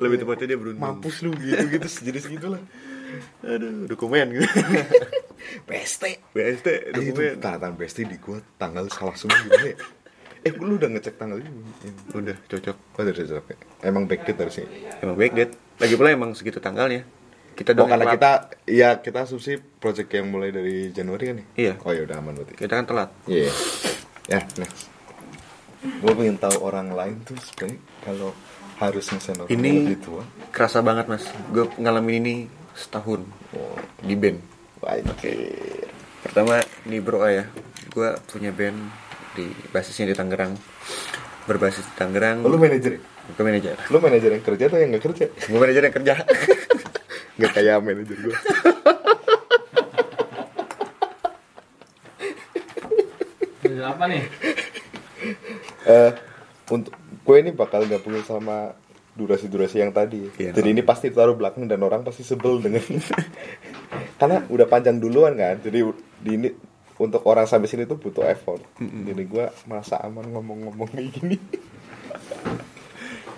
lebih tepatnya dia beruntung Mampus lu gitu-gitu sejenis gitu gitulah. aduh dokumen gitu BST BST Aduh, itu dokumen tanda tangan BST di gua tanggal salah semua gimana ya? Eh, lu udah ngecek tanggal ini? Iya. Udah, cocok. Oh, udah cocok. ya? Emang backdate harusnya. Emang backdate. Lagi pula emang segitu tanggalnya. Kita oh, dong karena yang kita ya kita asumsi project yang mulai dari Januari kan ya? Iya. Oh, ya udah aman berarti. Kita kan telat. Iya. Ya, next. Gue pengen tahu orang lain tuh sebenarnya kalau harus ngesen orang Ini- lebih tua. kerasa banget mas gue ngalamin ini setahun Oh, di band oke pertama nih bro A ya gue punya band di basisnya di Tangerang berbasis di Tangerang Oh, lu manajer ya? gue manajer Lu manajer yang kerja atau yang nggak kerja? gue manajer yang kerja Nggak kayak manajer gue. Jadi apa nih? Eh, untuk gue ini bakal gabungin sama durasi-durasi yang tadi. Iya. Jadi ini pasti taruh belakang dan orang pasti sebel dengan karena udah panjang duluan kan. Jadi u- di ini untuk orang sampai sini tuh butuh effort. Jadi gue merasa aman ngomong-ngomong kayak gini.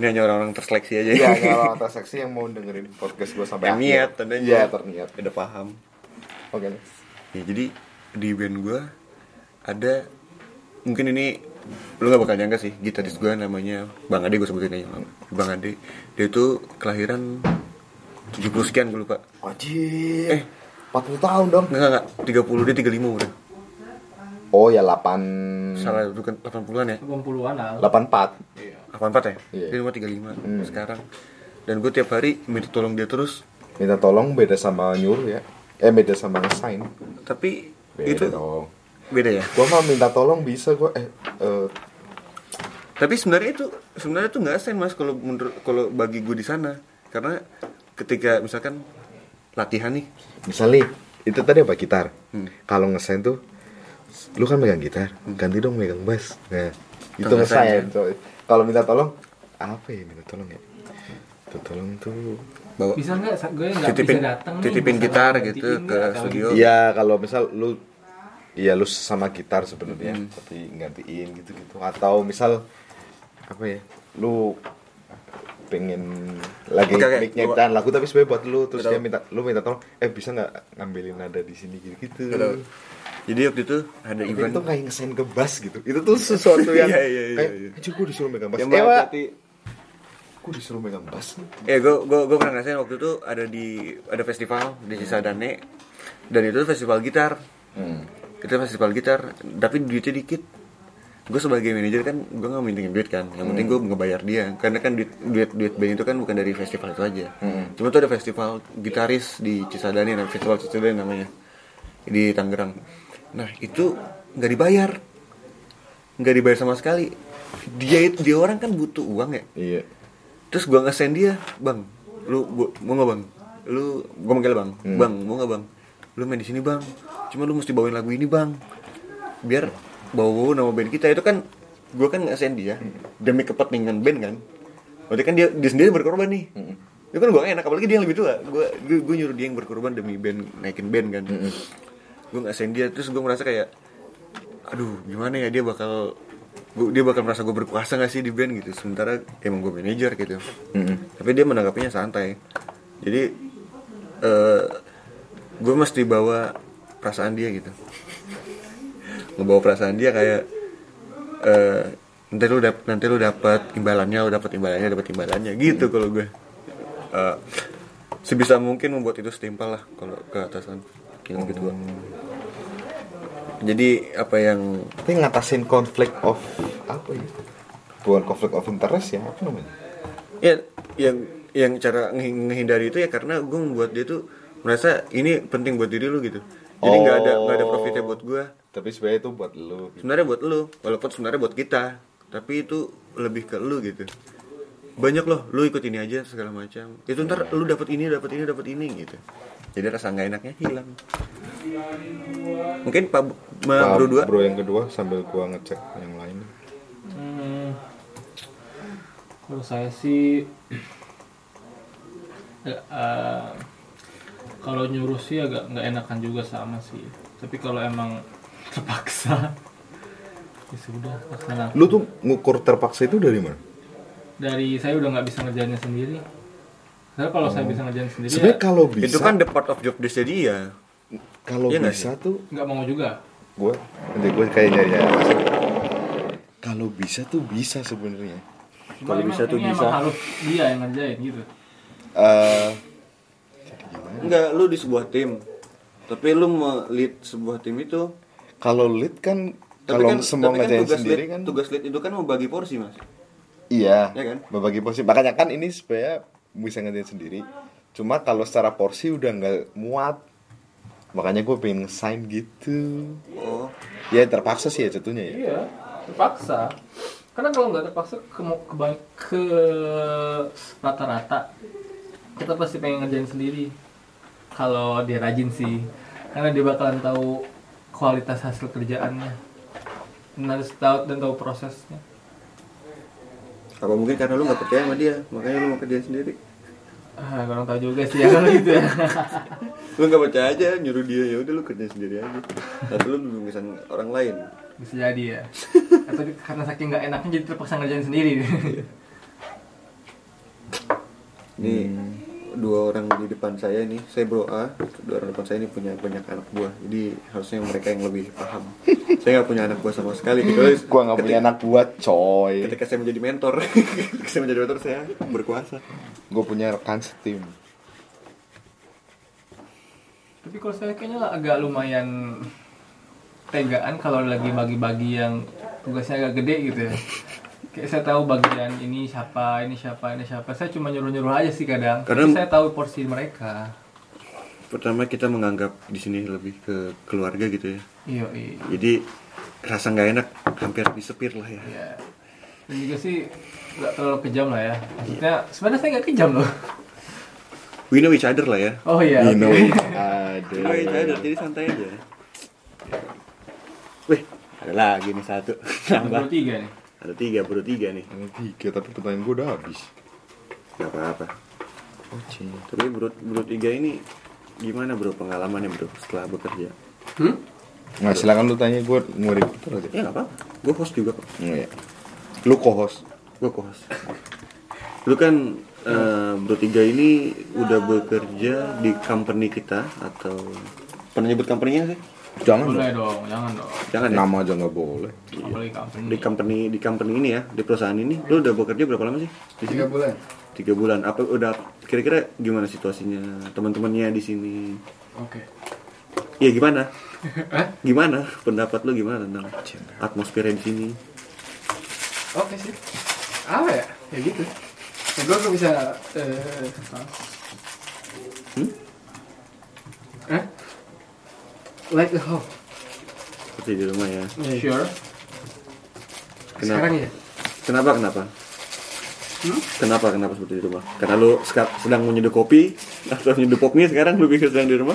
ini hanya orang-orang terseleksi aja Iya, kalau atas seksi yang mau dengerin podcast gue sampai yang akhir. niat tandanya Iya, terniat. udah paham Oke. ya jadi di band gue ada mungkin ini lu gak bakal nyangka sih gitaris gue namanya Bang Ade gue sebutin aja Bang Ade dia itu kelahiran 70 sekian gue lupa Wajib. Eh, 40 tahun dong. Enggak, enggak. 30 dia 35 udah. Oh ya 8 Salah bukan 80-an ya? 80-an lah. 84. 84 ya? Iya. Dia nomor 35 sekarang. Dan gue tiap hari minta tolong dia terus, Minta tolong beda sama nyuruh ya. Eh beda sama ngesain. tapi Beda itu dong. beda ya. Gua mah minta tolong bisa gua eh eh, Tapi sebenarnya itu sebenarnya itu nggak sen mas kalau menurut kalau bagi gue di sana karena ketika misalkan latihan nih misalnya itu tadi apa gitar. Kalau ngesain tuh lu kan megang gitar, ganti dong megang bass. Nah, itu Itu ngesain. ngesain, So, Kalau minta tolong apa ya minta tolong ya? Minta tolong tuh bawa Bisa nggak? Sa- Gue nggak Titipin- bisa datang nih. titipin bisa gitar gantiin gitu nggak kan? ke atau studio. gimana? Iya, kalau misal Iya, lu Iya lu sama gitar sebenarnya, Mhm. tapi gantiin gitu-gitu. Atau misal apa ya, lu pengen lagi Oke, oke. mic nyiptain lagu tapi sebenarnya buat lu terus Betul. dia minta lu minta tolong eh bisa nggak ngambilin nada di sini gitu gitu Betul. jadi waktu itu ada event- itu kayak ngesain ke bass gitu itu tuh sesuatu yang Iya, iya, iya, kayak iya. "Anjing, gua disuruh megang bass Yang Eh, Wak, berhati-hati. gua disuruh megang bass nih Ya gue gue gue pernah ngerasain waktu itu ada di ada festival di Cisadane dan itu festival gitar. Hmm. Itu festival gitar tapi duitnya dikit. Gue sebagai manajer kan gue nggak mintingin duit kan. Yang penting Hmm. gue ngebayar dia karena kan duit duit duit band itu kan bukan dari festival itu aja. Hmm. Cuma tuh ada festival gitaris di Cisadane nah, festival Cisadane namanya di Tangerang. Nah itu nggak dibayar nggak dibayar sama sekali dia itu dia orang kan butuh uang ya iya terus gua nge-send dia bang lu gua- mau nggak bang lu gua manggil bang Hmm. bang mau nggak bang lu main di sini bang cuma lu mesti bawain lagu ini bang biar bawa nama band kita itu kan gua kan nge-send dia demi kepentingan band kan berarti kan dia dia sendiri berkorban nih itu kan gua nggak enak apalagi dia yang lebih tua gua gua, gua nyuruh dia yang berkorban demi band naikin band kan gua nge-send dia terus gua merasa kayak aduh gimana ya dia bakal gua- dia bakal merasa gue berkuasa gak sih di band gitu sementara emang gue manajer gitu tapi dia menanggapinya santai jadi eh gue mesti bawa perasaan dia gitu ngebawa perasaan dia kayak eh nanti lu dap nanti lu dapat imbalannya lu dapat imbalannya dapat imbalannya gitu kalau gue Eh, sebisa mungkin membuat itu setimpal lah kalau ke atasan gitu gitu gua. jadi apa yang tapi ngatasin konflik of apa ya bukan konflik of interest ya apa namanya ya yang yang cara ngehi- ngehindari itu ya karena gue membuat dia tuh merasa ini penting buat diri lu gitu jadi nggak ada nggak ada profitnya buat gue tapi sebenarnya itu buat lu gitu. sebenarnya buat lu walaupun sebenarnya buat kita tapi itu lebih ke lu gitu banyak loh lu ikut ini aja segala macam itu ntar lu dapat ini dapat ini dapat ini gitu jadi rasa nggak enaknya hilang mungkin pak Bu- Ma- Nah, bro dua bro yang kedua sambil gua ngecek yang lain Hmm, kalau saya sih eh, eh, kalau nyuruh sih agak nggak enakan juga sama sih. Tapi kalau emang terpaksa ya sudah laksanakan. lu tuh ngukur terpaksa itu dari mana dari saya udah nggak bisa ngerjainnya sendiri. Saya kalau saya Oh. bisa ngerjain sendiri. ya Sebenarnya kalau bisa- Iya. itu kan the part of job desk dia kalau Iya nggak bisa sih? tuh nggak mau juga. gue nanti gue kayak nyari nyari kalau bisa tuh bisa sebenarnya Cuma emang ini Emang harus dia yang ngerjain gitu. Eh, Enggak, lu di sebuah tim. Tapi lu lead sebuah tim itu kalau lead kan kalau semua ngajain sendiri kan tugas lead itu kan membagi porsi, Mas. Iya, Ya kan? membagi porsi. Makanya kan ini supaya bisa ngerjain sendiri. Cuma kalau secara porsi udah nggak muat. Makanya gue pengen sign gitu. Oh. Ya terpaksa sih ya jatuhnya ya. Iya, terpaksa. Karena kalau nggak terpaksa ke, ke, ke rata-rata, kita pasti pengen ngerjain sendiri. Kalau dia rajin sih, karena dia bakalan tahu kualitas hasil kerjaannya. Dan harus tahu dan tahu prosesnya. Apa mungkin karena lu nggak percaya sama dia, makanya lu mau kerjain sendiri. Ah, kurang tahu juga sih ya kalau gitu ya. lu nggak percaya aja nyuruh dia ya udah lu kerjain sendiri aja. Tapi lu lulusan orang lain. Bisa jadi ya. Atau di- karena saking nggak enaknya jadi terpaksa ngerjain sendiri. Nih dua orang di depan saya nih, saya bro A, dua orang depan saya ini punya banyak anak buah. Jadi harusnya mereka yang lebih paham. saya nggak punya anak buah sama sekali. Kecuali Gua nggak punya ketika- anak buat coy. Ketika saya menjadi mentor, ketika saya menjadi mentor saya berkuasa. Gue punya rekan setim. Tapi kalau saya kayaknya agak lumayan tegaan kalau lagi bagi-bagi yang tugasnya agak gede gitu ya. Kayak saya tahu bagian ini siapa, ini siapa, ini siapa. Saya cuma nyuruh-nyuruh aja sih kadang. Karena- Tapi saya tahu porsi mereka. Pertama kita menganggap di sini lebih ke keluarga gitu ya. Iya, iya. Jadi rasa nggak enak hampir disepir lah ya. Iya. Dan juga sih nggak terlalu kejam lah ya. Maksudnya sebenarnya saya nggak kejam loh. We know each other lah ya. Oh, iya, oke. We know each other. We know each other, jadi santai aja. Wih, ada lagi nih satu. Nambah. Baru tiga nih. Ada tiga, baru tiga nih. Ada tiga, tapi pertanyaan gue udah habis. Gak apa-apa. Tapi bro, bro tiga ini gimana bro pengalamannya bro setelah bekerja? Hmm? Nah, silakan lu tanya gue mau reporter aja. Ya nggak apa. Gue host juga kok. Iya. Lu co-host. Gue co-host. Lu kan eh, bertiga ini udah bekerja di company kita atau pernah nyebut company-nya sih? Jangan Boleh dong, jangan dong. Jangan ya? Nama aja nggak boleh. Apalagi company. Di company di company ini ya, di perusahaan ini, lu udah bekerja berapa lama sih? Di sini? Tiga bulan. Tiga bulan. Apa udah kira-kira gimana situasinya teman-temannya di sini? Oke. Iya gimana? Hah? Gimana pendapat lu gimana tentang atmosfernya di sini? Oke sih. Apa ya? Ya gitu. Ya, gue gak bisa... eh, Hmm? eh? Like a home. Seperti di rumah ya. Sure. Iya. Sekarang ya? Kenapa kenapa? Hmm? Kenapa kenapa seperti di rumah? Karena lu seka- sedang menyeduh kopi atau menyeduh pop mie sekarang lu pikir sedang di rumah?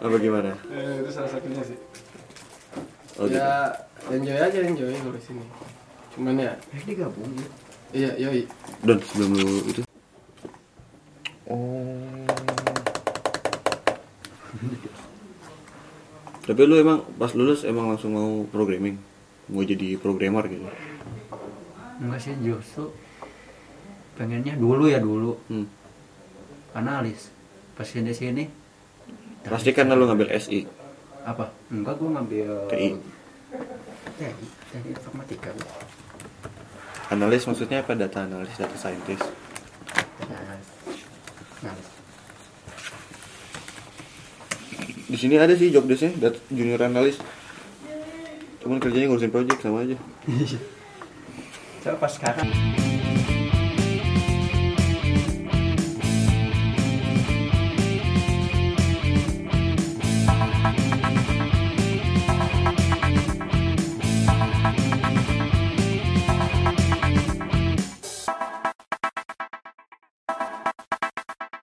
Apa gimana? Eh, itu salah satunya sih. Oh, gitu. ya, enjoy aja enjoy kalau di sini. Cuman ya, eh digabung ya. Iya, yoi. Don sebelum lu itu. Oh. Tapi lu emang pas lulus emang langsung mau programming, mau jadi programmer gitu. Enggak sih justru pengennya dulu ya dulu. Hmm. Analis. Pas di sini Pasti karena lu ngambil SI. apa? Enggak gua ngambil TI. TI, teknik informatika. gua. Analis maksudnya apa? Data analis, data scientist. Analis. Analis. Di sini ada sih job desk-nya, dat- junior analis. Cuman kerjanya ngurusin project sama aja. Coba sekarang